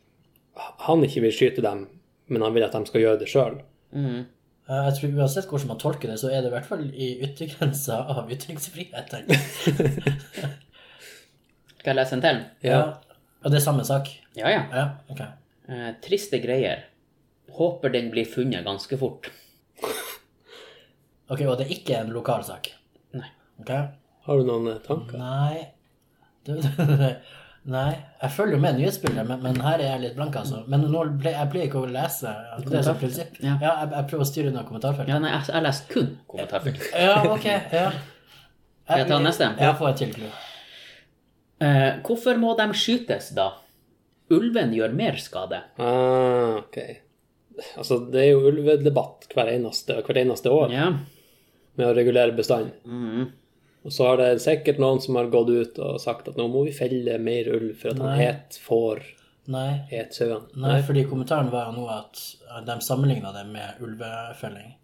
[SPEAKER 2] han ikke vil skyte dem, men han vil at de skal gjøre det sjøl.
[SPEAKER 3] Eh, Jeg tror Uansett hvordan man tolker det, så er det i hvert fall i yttergrensa av ytringsfriheten.
[SPEAKER 1] Skal jeg lese en til?
[SPEAKER 3] Ja. Og det er samme sak?
[SPEAKER 1] Ja, ja.
[SPEAKER 3] Ja, ok.
[SPEAKER 1] Eh, triste greier. Håper den blir funnet ganske fort.
[SPEAKER 3] Ok, Og det er ikke en lokal sak?
[SPEAKER 1] Nei.
[SPEAKER 3] Ok?
[SPEAKER 2] Har du noen eh, tanker?
[SPEAKER 3] Nei du, Nei. Jeg følger jo med nyhetsbildet, men, men her er jeg litt blank, altså. Men nå ble, jeg blir ikke å lese. Det er sånn prinsipp.
[SPEAKER 1] Ja.
[SPEAKER 3] jeg, jeg prøver å styre unna kommentarfeltet.
[SPEAKER 1] Ja, nei, jeg, jeg leser kun kommentarfelt.
[SPEAKER 3] Ja. ok. Ja.
[SPEAKER 1] Skal jeg ta neste?
[SPEAKER 3] Ja, få et til. Gry.
[SPEAKER 1] Eh, hvorfor må de skytes, da? Ulven gjør mer skade.
[SPEAKER 2] Ah, ok. Altså, det er jo ulvedebatt hver eneste, hvert eneste år
[SPEAKER 1] Ja.
[SPEAKER 2] med å regulere bestanden. Og så har det sikkert noen som har gått ut og sagt at nå må vi felle mer ulv for at han het får,
[SPEAKER 3] Nei.
[SPEAKER 2] het sauene.
[SPEAKER 3] Nei, fordi kommentaren var jo nå at de sammenligna det med ulvefelling.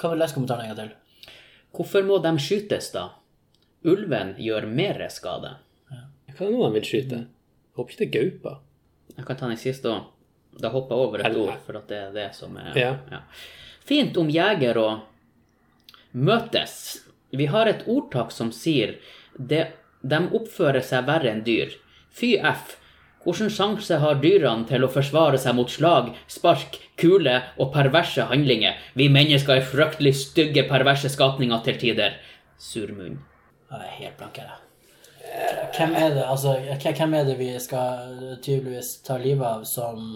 [SPEAKER 3] Kan vi lese kommentaren en gang til?
[SPEAKER 1] Hvorfor må de skytes, da? Ulven gjør mer skade.
[SPEAKER 2] Hva er det nå de vil skyte? Jeg håper ikke det er gaupa.
[SPEAKER 1] Jeg kan ta den siste òg. Da hopper jeg over et
[SPEAKER 2] Helvete.
[SPEAKER 1] ord, for at det er det som er
[SPEAKER 2] Ja.
[SPEAKER 1] Fint om jeger og møtes. Vi har et ordtak som sier de, de oppfører seg verre enn dyr. Fy f. Hvilken sjanse har dyrene til å forsvare seg mot slag, spark, kule og perverse handlinger? Vi mennesker er fryktelig stygge, perverse skapninger til tider. Surmunn.
[SPEAKER 3] Jeg er helt blank her. jeg. Hvem er det, altså, hve- hvem er det vi skal tydeligvis ta livet av som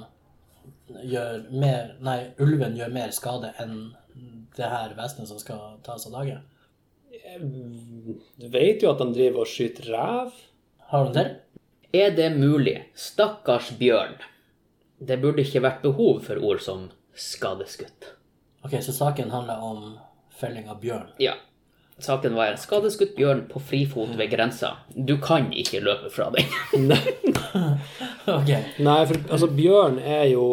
[SPEAKER 3] gjør mer Nei, ulven gjør mer skade enn det her vesenet som skal tas av dage?
[SPEAKER 2] Du vet jo at de driver og skyter rev.
[SPEAKER 3] Har du den til?
[SPEAKER 1] Er det mulig? Stakkars bjørn. Det burde ikke vært behov for ord som skadeskutt.
[SPEAKER 3] OK, så saken handler om felling av bjørn.
[SPEAKER 1] Ja. Saken var skadeskutt bjørn på frifot ved grensa. Du kan ikke løpe fra den.
[SPEAKER 3] OK.
[SPEAKER 2] Nei, for altså, bjørn er jo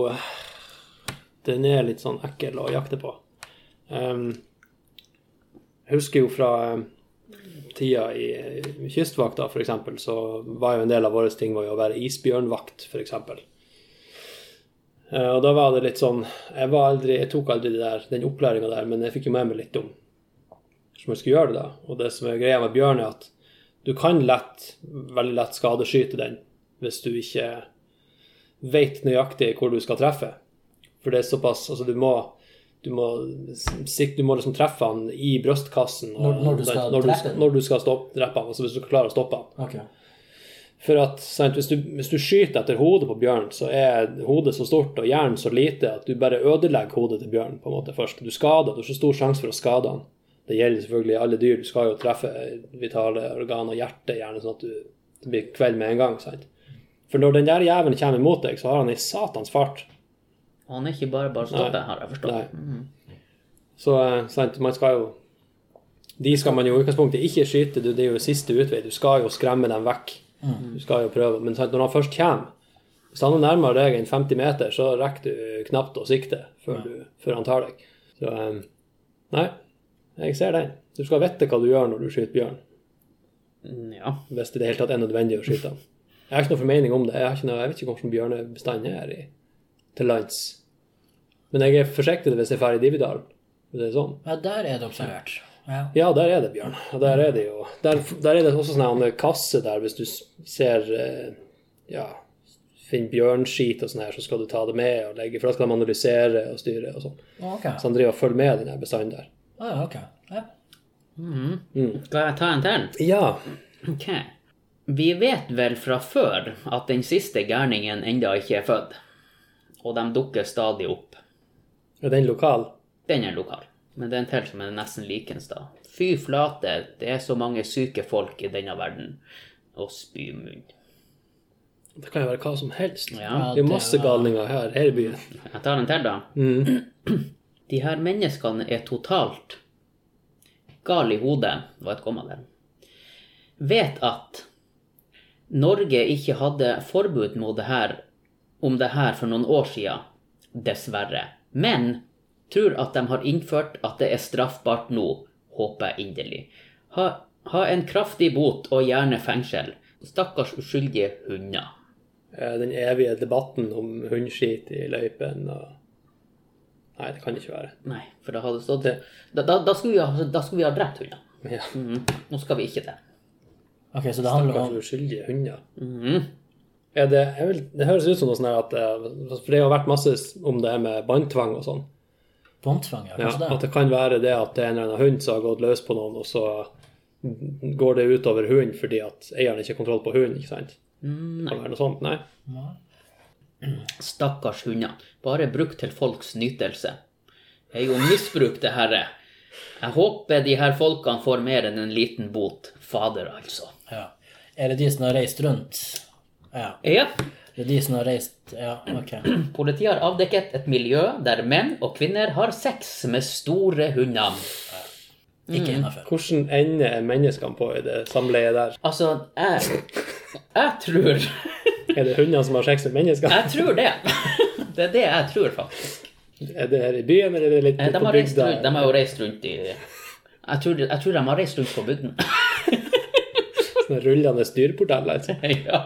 [SPEAKER 2] Den er litt sånn ekkel å jakte på. Um, jeg husker jo fra um, tida i i Kystvakta, for eksempel, så var jo en del av våre ting var jo å være isbjørnvakt, for eksempel. Eh, Og da var det litt sånn Jeg, var aldri, jeg tok aldri det der, den opplæringa der, men jeg fikk jo med meg litt om hvordan man skulle gjøre det. da. Og det som er greia med bjørn, er at du kan lett, veldig lett skadeskyte den hvis du ikke vet nøyaktig hvor du skal treffe. For det er såpass Altså, du må du må, sik- du må liksom treffe han i brystkassen og-
[SPEAKER 3] Når- når du skal
[SPEAKER 2] når
[SPEAKER 3] drepe den.
[SPEAKER 2] når du skal stoppe, drepe han, altså hvis du klarer å stoppe han.
[SPEAKER 3] ok.
[SPEAKER 2] For at, sant, hvis, du, hvis du skyter etter hodet på bjørn, så er hodet så stort og hjernen så lite at du bare ødelegger hodet til bjørn på en måte først. Du skader, du har så stor sjanse for å skade han. Det gjelder selvfølgelig alle dyr. Du skal jo treffe vitale organer og hjerte, gjerne sånn at du det blir kveld med en gang. sant? For når den der jævelen kommer mot deg, så har han ei satans fart.
[SPEAKER 1] Han er ikke bare bare å stoppe, har jeg forstått.
[SPEAKER 2] Nei. Så eh, sant, man skal jo De skal man jo i utgangspunktet ikke skyte, du- det er jo siste utvei. Du skal jo skremme dem vekk. Du skal jo prøve. Men sant, når han først kommer Hvis han er nærmere deg enn 50 meter, så rekker du knapt å sikte før, du, før han tar deg. Så eh, Nei, jeg ser den. Du skal vite hva du gjør når du skyter bjørn.
[SPEAKER 1] Mm, Ja.
[SPEAKER 2] Hvis det i det hele tatt er nødvendig å skyte han. Jeg har ikke noe formening om det. Jeg, har ikke noe, jeg vet ikke hvordan bjørnebestanden er i, til lands. Men jeg er forsiktig hvis jeg drar i Dividalen. for å si Det er sånn.
[SPEAKER 3] Ja, der er det observert. Ja.
[SPEAKER 2] Ja, der er det bjørn. Og der er det jo Der, der er det også sånn en kasse der hvis du s- ser eh, Ja, finner bjørnskit og sånn her, så skal du ta det med og legge For da skal de analysere og styre og sånn.
[SPEAKER 3] Ok.
[SPEAKER 2] Så han driver og følger med den her bestanden der.
[SPEAKER 3] Ah, ja, ok. Ja.
[SPEAKER 1] Skal jeg ta en til?
[SPEAKER 2] Ja.
[SPEAKER 1] Ok. Vi vet vel fra før at den siste gærningen enda ikke er fødd. Og de dukker stadig opp.
[SPEAKER 2] Er den lokal?
[SPEAKER 1] Den er lokal. Men det er en til som er nesten likens, da. Fy flate, det er så mange syke folk i denne verden. Og spymunn.
[SPEAKER 2] Det kan jo være hva som helst.
[SPEAKER 1] Ja.
[SPEAKER 2] Det er masse galninger her, her i byen.
[SPEAKER 1] Jeg tar en til, da. De her menneskene er totalt gal i hodet, var et komma der. Vet at Norge ikke hadde forbud mot det her, om det her for noen år siden, dessverre. Men tror at de har innført at det er straffbart nå, håper jeg inderlig. Ha, ha en kraftig bot og gjerne fengsel. Stakkars uskyldige hunder.
[SPEAKER 2] Eh, Den evige debatten om hundskit i løypen og Nei, det kan det ikke være.
[SPEAKER 1] Nei, for da hadde det stått Da, da, da, skulle, vi ha, altså, da skulle vi ha drept hunder.
[SPEAKER 2] Ja.
[SPEAKER 1] Mhm. Nå skal vi ikke det.
[SPEAKER 3] Ok, så det handler om
[SPEAKER 2] Kanskje uskyldige hunder.
[SPEAKER 1] Mhm.
[SPEAKER 2] Er det, jeg vil, det høres ut som noe sånn her at eh, For det har vært masse om det her med båndtvang og sånn.
[SPEAKER 3] båndtvang, ja.
[SPEAKER 2] Ja,
[SPEAKER 3] Kanskje
[SPEAKER 2] at
[SPEAKER 3] det?
[SPEAKER 2] det kan være det at det er en eller annen hund som har gått løs på noen, og så går det utover hunden fordi at eieren ikke har kontroll på hunden, ikke sant?
[SPEAKER 1] Mm,
[SPEAKER 2] Nei. Kan være noe sånt, nei.
[SPEAKER 1] Stakkars hunder. Bare brukt til folks nytelse. Det er jo misbruk, det herre. Jeg håper de her folkene får mer enn en liten bot. Fader, altså.
[SPEAKER 3] Ja. Er det de som har reist rundt? Ja.
[SPEAKER 1] Ja,
[SPEAKER 3] Det er de som har reist Ja, ok.
[SPEAKER 1] politiet har avdekket et miljø der menn og kvinner har sex med store hunder.
[SPEAKER 3] Ikke innafor.
[SPEAKER 2] Hvordan ender er menneskene på i det samleiet der?
[SPEAKER 1] Altså, jeg Jeg tror
[SPEAKER 2] Er det hundene som har sex med mennesker?
[SPEAKER 1] Jeg tror det. Det er det jeg tror, faktisk.
[SPEAKER 2] Er det her i byen, eller er det litt
[SPEAKER 1] Eh, De
[SPEAKER 2] på
[SPEAKER 1] har, reist
[SPEAKER 2] bygda?
[SPEAKER 1] rundt, de har jo reist rundt i jeg tror, jeg tror de har reist rundt på bygden.
[SPEAKER 2] Sånne Sånn rullende dyreporteller? Altså.
[SPEAKER 1] ja.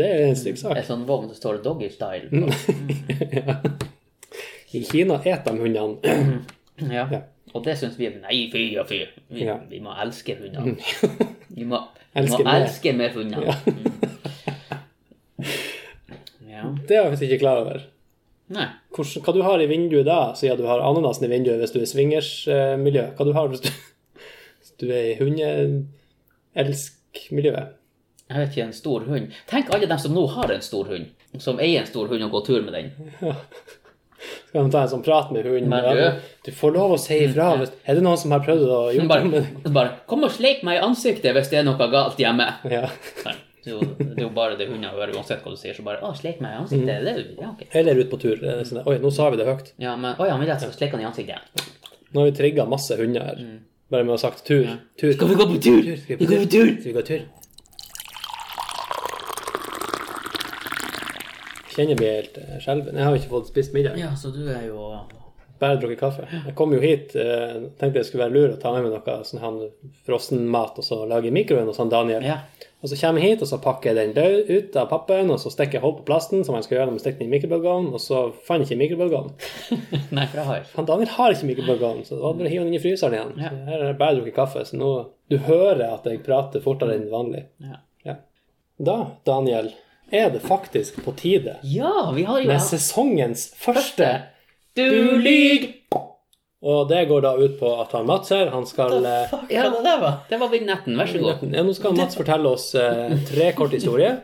[SPEAKER 2] Det er en stygg sak.
[SPEAKER 1] En sånn vogn som står 'doggy style'. på.
[SPEAKER 2] Mm. I Kina eter de hundene.
[SPEAKER 1] Ja. Og det syns vi er Nei, fy og fy. Vi,
[SPEAKER 2] Ja. Mm.
[SPEAKER 1] vi må elske hunder. Vi må, vi
[SPEAKER 2] Elske
[SPEAKER 1] elske, må
[SPEAKER 2] mer.
[SPEAKER 1] elske mer hunder. Ja. ja.
[SPEAKER 2] Det er jeg faktisk ikke klar over.
[SPEAKER 1] Nei.
[SPEAKER 2] Hvordan, hva du har i vinduet da, siden du har ananasen i vinduet hvis du er i swingersmiljø? Hva du har hvis du, hvis du er i hundeelskmiljøet?
[SPEAKER 1] Jeg vet ikke, en stor hund Tenk alle dem som nå har en stor hund. Som eier en stor hund og går tur med den.
[SPEAKER 2] Skal de ta en sånn prat med hunden?
[SPEAKER 1] Men du- Mm,
[SPEAKER 2] Ja, du får lov å si ifra. Hvis, er det noen som har prøvd å
[SPEAKER 1] Hun
[SPEAKER 2] gjøre det?
[SPEAKER 1] bare,
[SPEAKER 2] med-
[SPEAKER 1] bare 'Kom og sleik meg i ansiktet hvis det er noe galt hjemme'.
[SPEAKER 2] Ja.
[SPEAKER 1] Nei, Det er jo, det er jo bare det hunder hører, uansett hva du sier. Så bare 'Å, sleik meg i ansiktet'. Det er jo, ja, ok.
[SPEAKER 2] Eller ute på tur. Det er Sånn, Oi, nå sa vi det høyt.
[SPEAKER 1] Ja, men, å, ja, men jeg skal sleike han i ansiktet.
[SPEAKER 2] Nå har vi trigga masse hunder her. Bare med å ha sagt tur. tur.
[SPEAKER 1] Mm. Skal vi gå på tur?
[SPEAKER 2] Skal
[SPEAKER 1] Vi går på tur!
[SPEAKER 2] Skal vi gå tur? Kjenner meg helt eh, skjelven. Jeg har ikke fått spist middag.
[SPEAKER 1] Ja, så du er jo
[SPEAKER 2] Bare drukket kaffe. Jeg kom jo hit eh, tenkte det skulle være lur å ta med meg noe sånn han frossenmat og så lage i mikroen hos han Daniel.
[SPEAKER 1] Ja.
[SPEAKER 2] Og så kommer jeg hit, og så pakker jeg den lø- ut av pappen, og så stikker jeg hold på plasten, som jeg skal gjøre når jeg stikker den i mikrobølgeovnen, og så fant jeg ikke mikrobølgeovnen.
[SPEAKER 1] Nei, for jeg har
[SPEAKER 2] Han Daniel har ikke mikrobølgeovn, så det var bare å hive den inn i fryseren igjen.
[SPEAKER 1] Ja.
[SPEAKER 2] Så her har jeg bare drukket kaffe, så nå Du hører at jeg prater fortere enn vanlig.
[SPEAKER 1] Ja,
[SPEAKER 2] Ja. Da, Daniel, er det faktisk på tide
[SPEAKER 1] ja vi har jo
[SPEAKER 2] med sesongens første
[SPEAKER 1] Du lyg!
[SPEAKER 2] Og det går da ut på at han Mats her, han skal eh,
[SPEAKER 3] Hva er det der, var?
[SPEAKER 1] Det var vignetten, vær så god.
[SPEAKER 2] ja, Nå skal Mats fortelle oss eh, tre korte historier.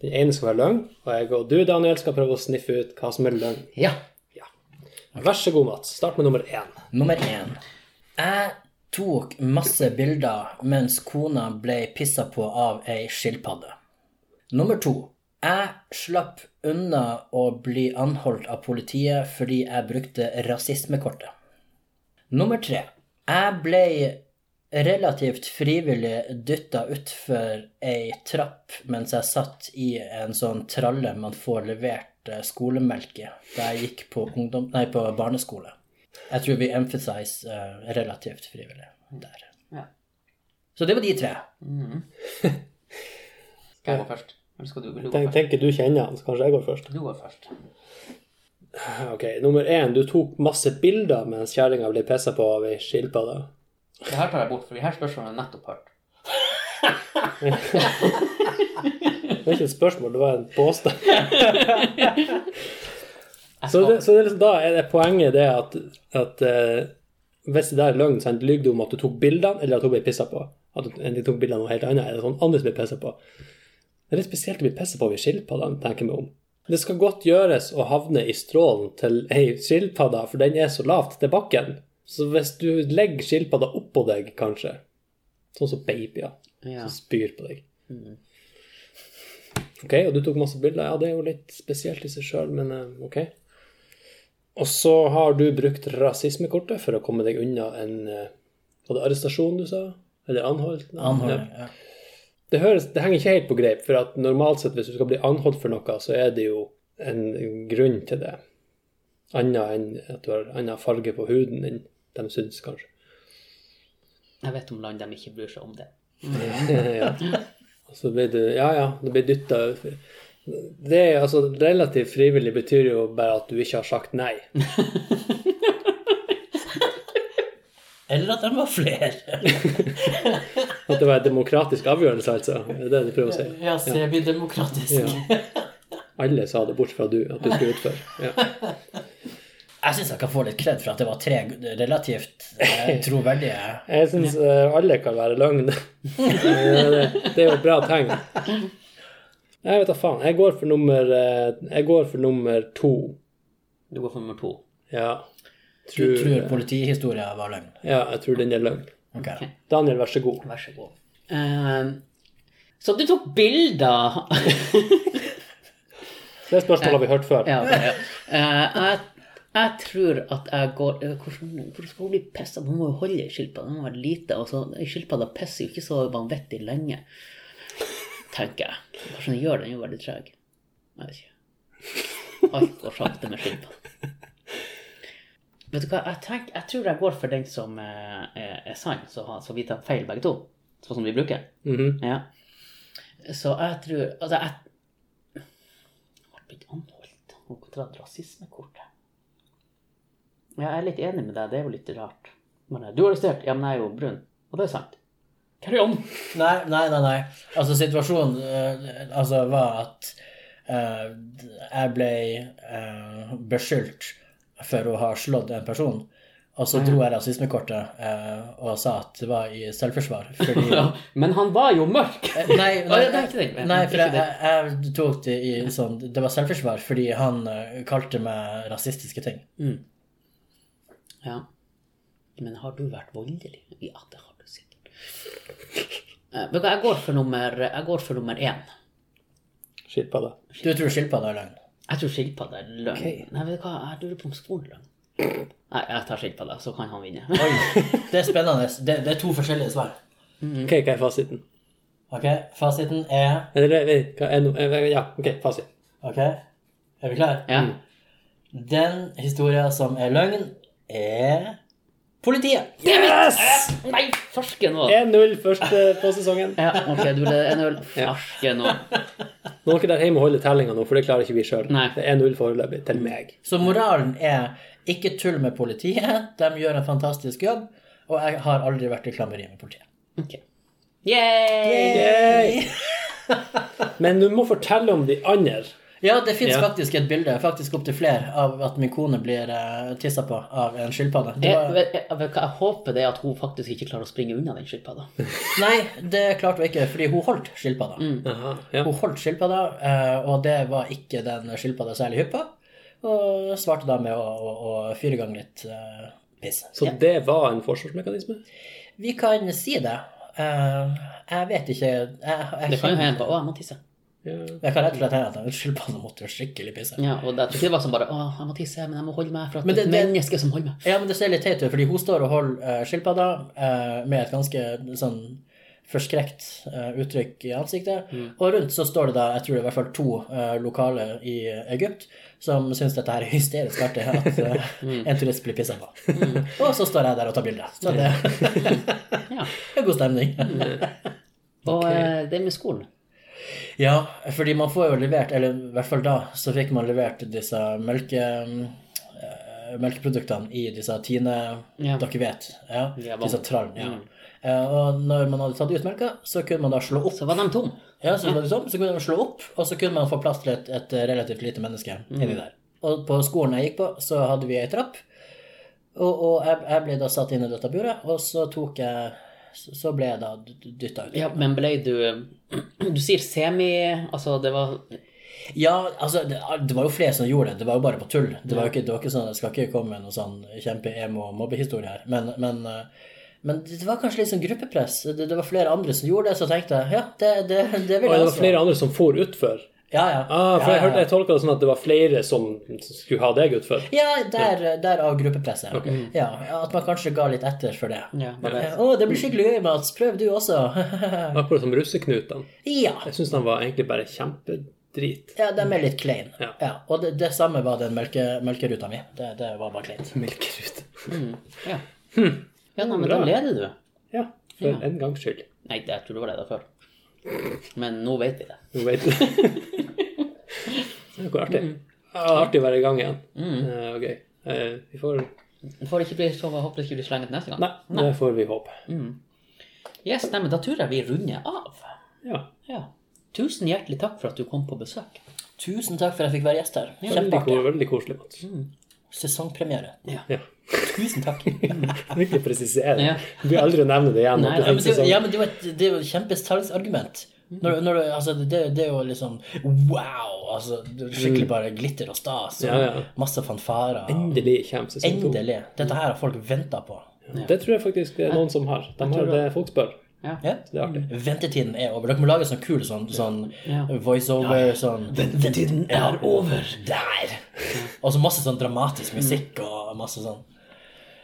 [SPEAKER 2] Den ene skal være løgn, og jeg og du, Daniel, skal prøve å sniffe ut hva som er løgn.
[SPEAKER 1] Ja.
[SPEAKER 2] Vær så god, Mats. Start med nummer én.
[SPEAKER 3] Nummer én. Jeg tok masse bilder mens kona ble pissa på av ei skilpadde. Nummer to. Jeg slapp unna å bli anholdt av politiet fordi jeg brukte rasismekortet. Nummer tre. Jeg ble relativt frivillig dytta utfor ei trapp mens jeg satt i en sånn tralle man får levert eh, skolemelk i da jeg gikk på, ungdom, nei, på barneskole. Jeg tror vi emphasize eh, relativt frivillig der.
[SPEAKER 1] Ja.
[SPEAKER 3] Så det var de tre.
[SPEAKER 1] Mm. Skal jeg gå først? Eller skal du, vil du gå
[SPEAKER 2] Tenk,
[SPEAKER 1] først?
[SPEAKER 2] tenker du kjenner han, så kanskje jeg går først.
[SPEAKER 1] Du går først.
[SPEAKER 2] Ok, Nummer én. Du tok masse bilder mens kjerringa ble pissa på av ei skilpadde.
[SPEAKER 1] Det her tar jeg bort, for de her spørsmålene er nettopp hørt.
[SPEAKER 2] Det var ikke et spørsmål, det var en påstand.
[SPEAKER 1] Jeg
[SPEAKER 2] Så,
[SPEAKER 1] skal-
[SPEAKER 2] det, så det, er liksom- da er det poenget det at, at eh, hvis det der er løgn, sant, lyver du om at du tok bildene, eller at hun ble pissa på. At du- de tok bildene av noe helt annet, eller sånn andre som ble pissa på. Det er litt spesielt å bli pissa på av en skilpadde, tenker jeg meg om. Det skal godt gjøres å havne i strålen til ei skilpadde, for den er så lavt til bakken. Så hvis du legger skilpadda oppå deg, kanskje, sånn som babyer,
[SPEAKER 1] Ja.
[SPEAKER 2] som spyr på deg Ok, og du tok masse bilder. Ja, det er jo litt spesielt i seg sjøl, men eh, ok. Og så har du brukt rasismekortet for å komme deg unna en eh, Var det arrestasjon du sa? Eller anholdt?
[SPEAKER 3] Anholder. Ja.
[SPEAKER 2] Det, høres, det henger ikke helt på greip, for at normalt sett hvis du skal bli anholdt for noe, så er det jo en grunn til det. Annet enn at du har annen farge på huden enn de syns, kanskje.
[SPEAKER 1] Jeg vet om land de ikke bryr seg om det.
[SPEAKER 2] ja. Og så blir du Ja, ja, du blir dytta Det er altså relativt frivillig betyr jo bare at du ikke har sagt nei.
[SPEAKER 3] Eller at de var flere.
[SPEAKER 2] At det var en demokratisk avgjørelse, altså. Det er det du prøver å si.
[SPEAKER 3] Ja, semidemokratisk.
[SPEAKER 2] Ja. Alle sa det, bortsett fra du, at du skulle utføre. Ja.
[SPEAKER 3] Jeg syns jeg kan få litt kred for at det var tre relativt eh, troverdige
[SPEAKER 2] Jeg syns alle kan være løgn. Eh, det, det er jo et bra tegn. Jeg vet da faen. Jeg går for nummer eh, Jeg går for nummer to.
[SPEAKER 1] Du går for nummer to.
[SPEAKER 2] Ja.
[SPEAKER 3] Du tror politihistorien var løgn.
[SPEAKER 2] Ja, jeg tror den er løgn.
[SPEAKER 3] Ok.
[SPEAKER 2] Daniel, vær så god.
[SPEAKER 1] Vær så god. Eh, så du tok bilder
[SPEAKER 2] Det spørsmålet har vi hørt før.
[SPEAKER 1] ja, ok, ja. Eh, jeg, jeg tror at jeg går eh, Hvordan, hvordan skal hun bli pissa? Hun må jo holde i skilpadda. Hun må være lite. Og så, skilpadda pisser jo ikke så vanvittig lenge, tenker jeg. Kanskje den gjør det, den er jo veldig treg. Jeg vet ikke. Alt går sakte med skilpadda. Vet du hva, jeg, tenk, jeg tror jeg går for den som eh, er, er sann, så, har- så vi tar feil begge to. Sånn som vi bruker.
[SPEAKER 2] Mhm.
[SPEAKER 1] Ja. Så jeg tror Altså, jeg Jeg ble ikke anholdt. Hun kunne dratt rasismekortet. Ja, jeg er litt enig med deg. Det er jo litt rart. Men eh, du er arrestert. Ja, men jeg er jo brun. Og det er sant. Carry on.
[SPEAKER 3] Nei, nei, nei. nei. Altså, situasjonen eh, altså, var at eh, jeg ble eh, beskyldt for å ha slått en person. Og så dro jeg rasismekortet eh, og sa at det var i selvforsvar. Fordi
[SPEAKER 1] Men han var jo mørk.
[SPEAKER 3] Eh, Nei,
[SPEAKER 1] Å,
[SPEAKER 3] nei,
[SPEAKER 1] ja, det er ikke det.
[SPEAKER 3] nei for
[SPEAKER 1] Ikke
[SPEAKER 3] jeg, jeg, jeg tok det i sånn Det var selvforsvar fordi han eh, kalte meg rasistiske ting.
[SPEAKER 1] Ja. Men har du vært voldelig? Ja, det har du sikkert. Eh, Vet du hva, jeg går for nummer, jeg går for nummer én.
[SPEAKER 2] Skilpadde.
[SPEAKER 3] Du tror skilpadda er løgn?
[SPEAKER 1] Jeg tror skilpadda er løgn.
[SPEAKER 2] Ok.
[SPEAKER 1] Nei, vet du hva, jeg lurer på om skolen er løgn. Nei, jeg tar skilpadda, så kan han vinne.
[SPEAKER 3] Oi, det er spennende. Det, det er to forskjellige svar.
[SPEAKER 2] Ok, hva er fasiten?
[SPEAKER 3] Ok, Fasiten er
[SPEAKER 2] Eller, vent, hva er no... eh, Ja, ok, fasit.
[SPEAKER 3] Ok, er vi klar?
[SPEAKER 1] Ja.
[SPEAKER 3] Den historien som er løgn, er politiet.
[SPEAKER 2] Yes!
[SPEAKER 1] Nei, farsken nå!
[SPEAKER 2] 1-0 først eh, på sesongen.
[SPEAKER 1] Ja, ok, du ble en øl. Farsken nå.
[SPEAKER 2] Nå er dere der hjemme og holder tellinga nå, for det klarer ikke vi sjøl.
[SPEAKER 1] Nei.
[SPEAKER 2] Det er 1-0 foreløpig til meg.
[SPEAKER 3] Så moralen er ikke tull med politiet. De gjør en fantastisk jobb. Og jeg har aldri vært i klammeri med politiet.
[SPEAKER 1] Ok. Yay!
[SPEAKER 2] Yay! Men du må fortelle om de andre.
[SPEAKER 3] Ja, det fins
[SPEAKER 2] Ja.
[SPEAKER 3] faktisk et bilde, faktisk opptil flere, av at min kone blir uh, tissa på av en skilpadde. Det
[SPEAKER 1] Jeg,
[SPEAKER 3] var...
[SPEAKER 1] vet, jeg, vet, hva, jeg håper det er at hun faktisk ikke klarer å springe unna den skilpadda.
[SPEAKER 3] Nei, det klarte hun ikke, fordi hun holdt skilpadda.
[SPEAKER 1] Mm.
[SPEAKER 2] Aha, ja.
[SPEAKER 3] Hun holdt skilpadda, eh, og det var ikke den skilpadda særlig hypp på. Og svarte da med å, å, å fyre i gang litt eh, piss.
[SPEAKER 2] Så det var en forsvarsmekanisme?
[SPEAKER 3] Vi kan si det. Eh, jeg vet ikke jeg, jeg,
[SPEAKER 1] Det kan jo hende bare, å, jeg må tisse.
[SPEAKER 2] Ja.
[SPEAKER 3] Jeg kan rett og slett hende at en skilpadde måtte skikkelig pisse.
[SPEAKER 1] Ja, og det, jeg tror ikke det var sånn bare, å, jeg må tisse, men jeg må holde meg for at
[SPEAKER 3] Men
[SPEAKER 1] det
[SPEAKER 3] det-
[SPEAKER 1] er et
[SPEAKER 3] det-
[SPEAKER 1] menneske som holder meg.
[SPEAKER 3] Ja, men det ser litt teit ut, fordi hun står og holder eh, skilpadda eh, med et ganske sånn forskrekt eh, uttrykk i ansiktet. Og rundt så står det da, jeg tror det er i hvert fall to eh, lokale i Egypt som syns dette her er hysterisk artig, at eh, en turist blir pissa på. Og så står jeg der og tar bilde. Så det
[SPEAKER 1] Ja.
[SPEAKER 3] er god stemning.
[SPEAKER 1] Og eh, det med skolen.
[SPEAKER 3] Ja, fordi man får jo levert, eller i hvert fall da, så fikk man levert disse melke, eh, melkeproduktene i disse Tine
[SPEAKER 1] Ja.
[SPEAKER 3] Dere vet. Ja,
[SPEAKER 1] Ja, Mm.
[SPEAKER 3] disse trallene. Ja. Eh, og når man hadde tatt ut melka, så kunne man da slå opp.
[SPEAKER 1] Så var de tom.
[SPEAKER 3] Ja, så, var det sånn, så kunne man slå opp, og så kunne man få plass til et, et relativt lite menneske
[SPEAKER 1] Mm.
[SPEAKER 3] inni der. Og på skolen jeg gikk på, så hadde vi ei trapp. Og, og jeg, jeg ble da satt inn i dette buret, og så tok jeg Så så ble jeg da dytta ut.
[SPEAKER 1] Ja, men ble du, du sier semi, altså det var,
[SPEAKER 3] Ja, altså, det, det var jo flere som gjorde det. Det var jo bare på tull. Det var jo ikke, det var ikke sånn, Jeg skal ikke komme med noen sånn kjempe-emo-mobbehistorie her, men, men, eh, Men det var kanskje litt sånn gruppepress. Det, det var flere andre som gjorde det, så tenkte jeg ja, det, det, det
[SPEAKER 2] Og
[SPEAKER 3] vil
[SPEAKER 2] det
[SPEAKER 3] jeg
[SPEAKER 2] var flere andre som for utfor.
[SPEAKER 3] Ja, ja.
[SPEAKER 2] Ah, for
[SPEAKER 3] altså. ja,
[SPEAKER 2] jeg, hørte,
[SPEAKER 3] ja.
[SPEAKER 2] jeg tolka det sånn at det var flere som skulle ha deg utfor.
[SPEAKER 3] ja, der, der av gruppepresset. Ja, at man kanskje ga litt etter for det.
[SPEAKER 1] Ja, bare,
[SPEAKER 3] Ja, Å, det blir skikkelig gøy, Mats. Prøv du også.
[SPEAKER 2] Akkurat som russeknutene.
[SPEAKER 3] ja.
[SPEAKER 2] Jeg syns de var egentlig bare kjempedrit.
[SPEAKER 3] ja, de er litt klein.
[SPEAKER 2] Ja.
[SPEAKER 3] Ja, og det, det samme var den melke, melkeruta mi. Det, det var bare kleint.
[SPEAKER 2] Mm. Melkerut.
[SPEAKER 1] ja. ja nei, men da
[SPEAKER 2] Bra.
[SPEAKER 1] leder du.
[SPEAKER 2] Ja, for en gangs skyld.
[SPEAKER 1] Nei, jeg tror du var leder før. Men nå vet vi det.
[SPEAKER 2] Nå vet du. Det går artig. Ja, det er artig å være i gang igjen. Eh, og gøy. Eh, vi får
[SPEAKER 1] Får det ikke bli, så håper det ikke blir slengt neste gang.
[SPEAKER 2] Nei, det får vi håpe.
[SPEAKER 1] Yes, nei, men da tror jeg vi runder av.
[SPEAKER 2] Ja.
[SPEAKER 1] Ja. Tusen hjertelig takk for at du kom på besøk.
[SPEAKER 3] Tusen takk for at jeg fikk være gjest her.
[SPEAKER 2] Veldig,
[SPEAKER 3] Kjempeartig.
[SPEAKER 2] ko- veldig koselig, Mats.
[SPEAKER 3] Sesongpremiere.
[SPEAKER 2] Ja.
[SPEAKER 3] Tusen takk.
[SPEAKER 2] Virkelig presisere.
[SPEAKER 1] Ja.
[SPEAKER 2] Du blir aldri å nevne det igjen.
[SPEAKER 1] Nei,
[SPEAKER 2] at
[SPEAKER 1] nei,
[SPEAKER 2] det
[SPEAKER 3] Ja, men
[SPEAKER 2] finnes
[SPEAKER 3] det,
[SPEAKER 2] en sånn-
[SPEAKER 3] ja, men det er jo et- det er jo et kjempesalgsargument. Når, når, du- altså, det, det er jo liksom wow! Altså, det er skikkelig bare glitter og stas og
[SPEAKER 2] Ja, ja.
[SPEAKER 3] masse fanfarer. og
[SPEAKER 2] Endelig kommer sesong to.
[SPEAKER 3] Endelig! Dette her har folk venta på.
[SPEAKER 2] Det tror jeg faktisk det er noen som har. De har det folk spør.
[SPEAKER 3] Ja?
[SPEAKER 2] Det er artig.
[SPEAKER 3] Ventetiden er over. Dere må lage sånn kul sånn, sånn
[SPEAKER 1] Ja.
[SPEAKER 3] voiceover sånn Ventetiden er over! Der! Og så masse sånn dramatisk musikk og masse sånn.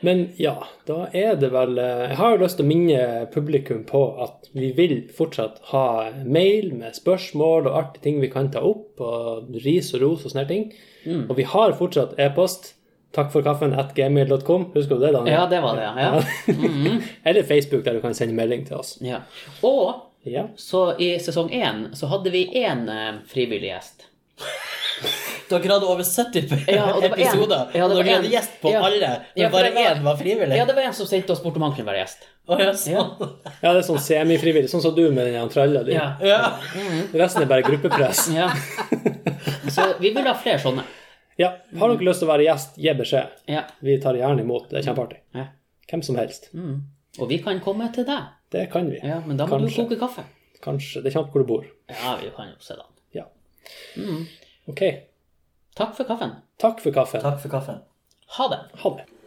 [SPEAKER 2] Men ja, da er det vel eh, Jeg har jo lyst til å minne publikum på at vi vil fortsatt ha mail med spørsmål og artige ting vi kan ta opp, og ris og ros og sånne ting.
[SPEAKER 1] Mm.
[SPEAKER 2] Og vi har fortsatt e-post. Takk for kaffen at gmail.com. Husker du det, Daniel?
[SPEAKER 1] Ja, det var det, ja. Mm. ja.
[SPEAKER 2] Eller Facebook, der du kan sende melding til oss.
[SPEAKER 1] ja. Og
[SPEAKER 2] Ja.
[SPEAKER 1] så i sesong én så hadde vi én eh, frivillig gjest.
[SPEAKER 3] Dere hadde over 70
[SPEAKER 1] Ja, og det var en-
[SPEAKER 3] episoder.
[SPEAKER 1] ja, det var
[SPEAKER 3] dere
[SPEAKER 1] en-
[SPEAKER 3] hadde gjest på
[SPEAKER 1] ja.
[SPEAKER 3] alle, men
[SPEAKER 1] Ja, for
[SPEAKER 3] bare
[SPEAKER 1] det var-
[SPEAKER 3] én var frivillig.
[SPEAKER 1] Ja, det var en som sendte oss bort om han kunne være gjest.
[SPEAKER 3] Å, ja, sånn.
[SPEAKER 2] ja, det er sånn semifrivillig. Sånn som du med den her tralla di.
[SPEAKER 1] Ja.
[SPEAKER 3] Ja.
[SPEAKER 2] Resten er bare gruppepress.
[SPEAKER 1] ja. Så vi vil ha flere sånne.
[SPEAKER 2] Ja, har dere lyst til å være gjest, gi beskjed.
[SPEAKER 1] Ja.
[SPEAKER 2] Vi tar gjerne imot. Det er kjempeartig.
[SPEAKER 1] ja.
[SPEAKER 2] Hvem som helst.
[SPEAKER 1] Og vi kan komme til deg.
[SPEAKER 2] Det kan vi.
[SPEAKER 1] Ja, men da må
[SPEAKER 2] Kanskje.
[SPEAKER 1] du koke kaffe.
[SPEAKER 2] Kanskje. Det kommer an på hvor du bor.
[SPEAKER 1] Ja, vi kan jo se da.
[SPEAKER 2] Ja. OK.
[SPEAKER 1] Mm. Takk for kaffen.
[SPEAKER 2] Takk for kaffen.
[SPEAKER 3] Takk for kaffen.
[SPEAKER 1] Ha det.
[SPEAKER 2] Ha det.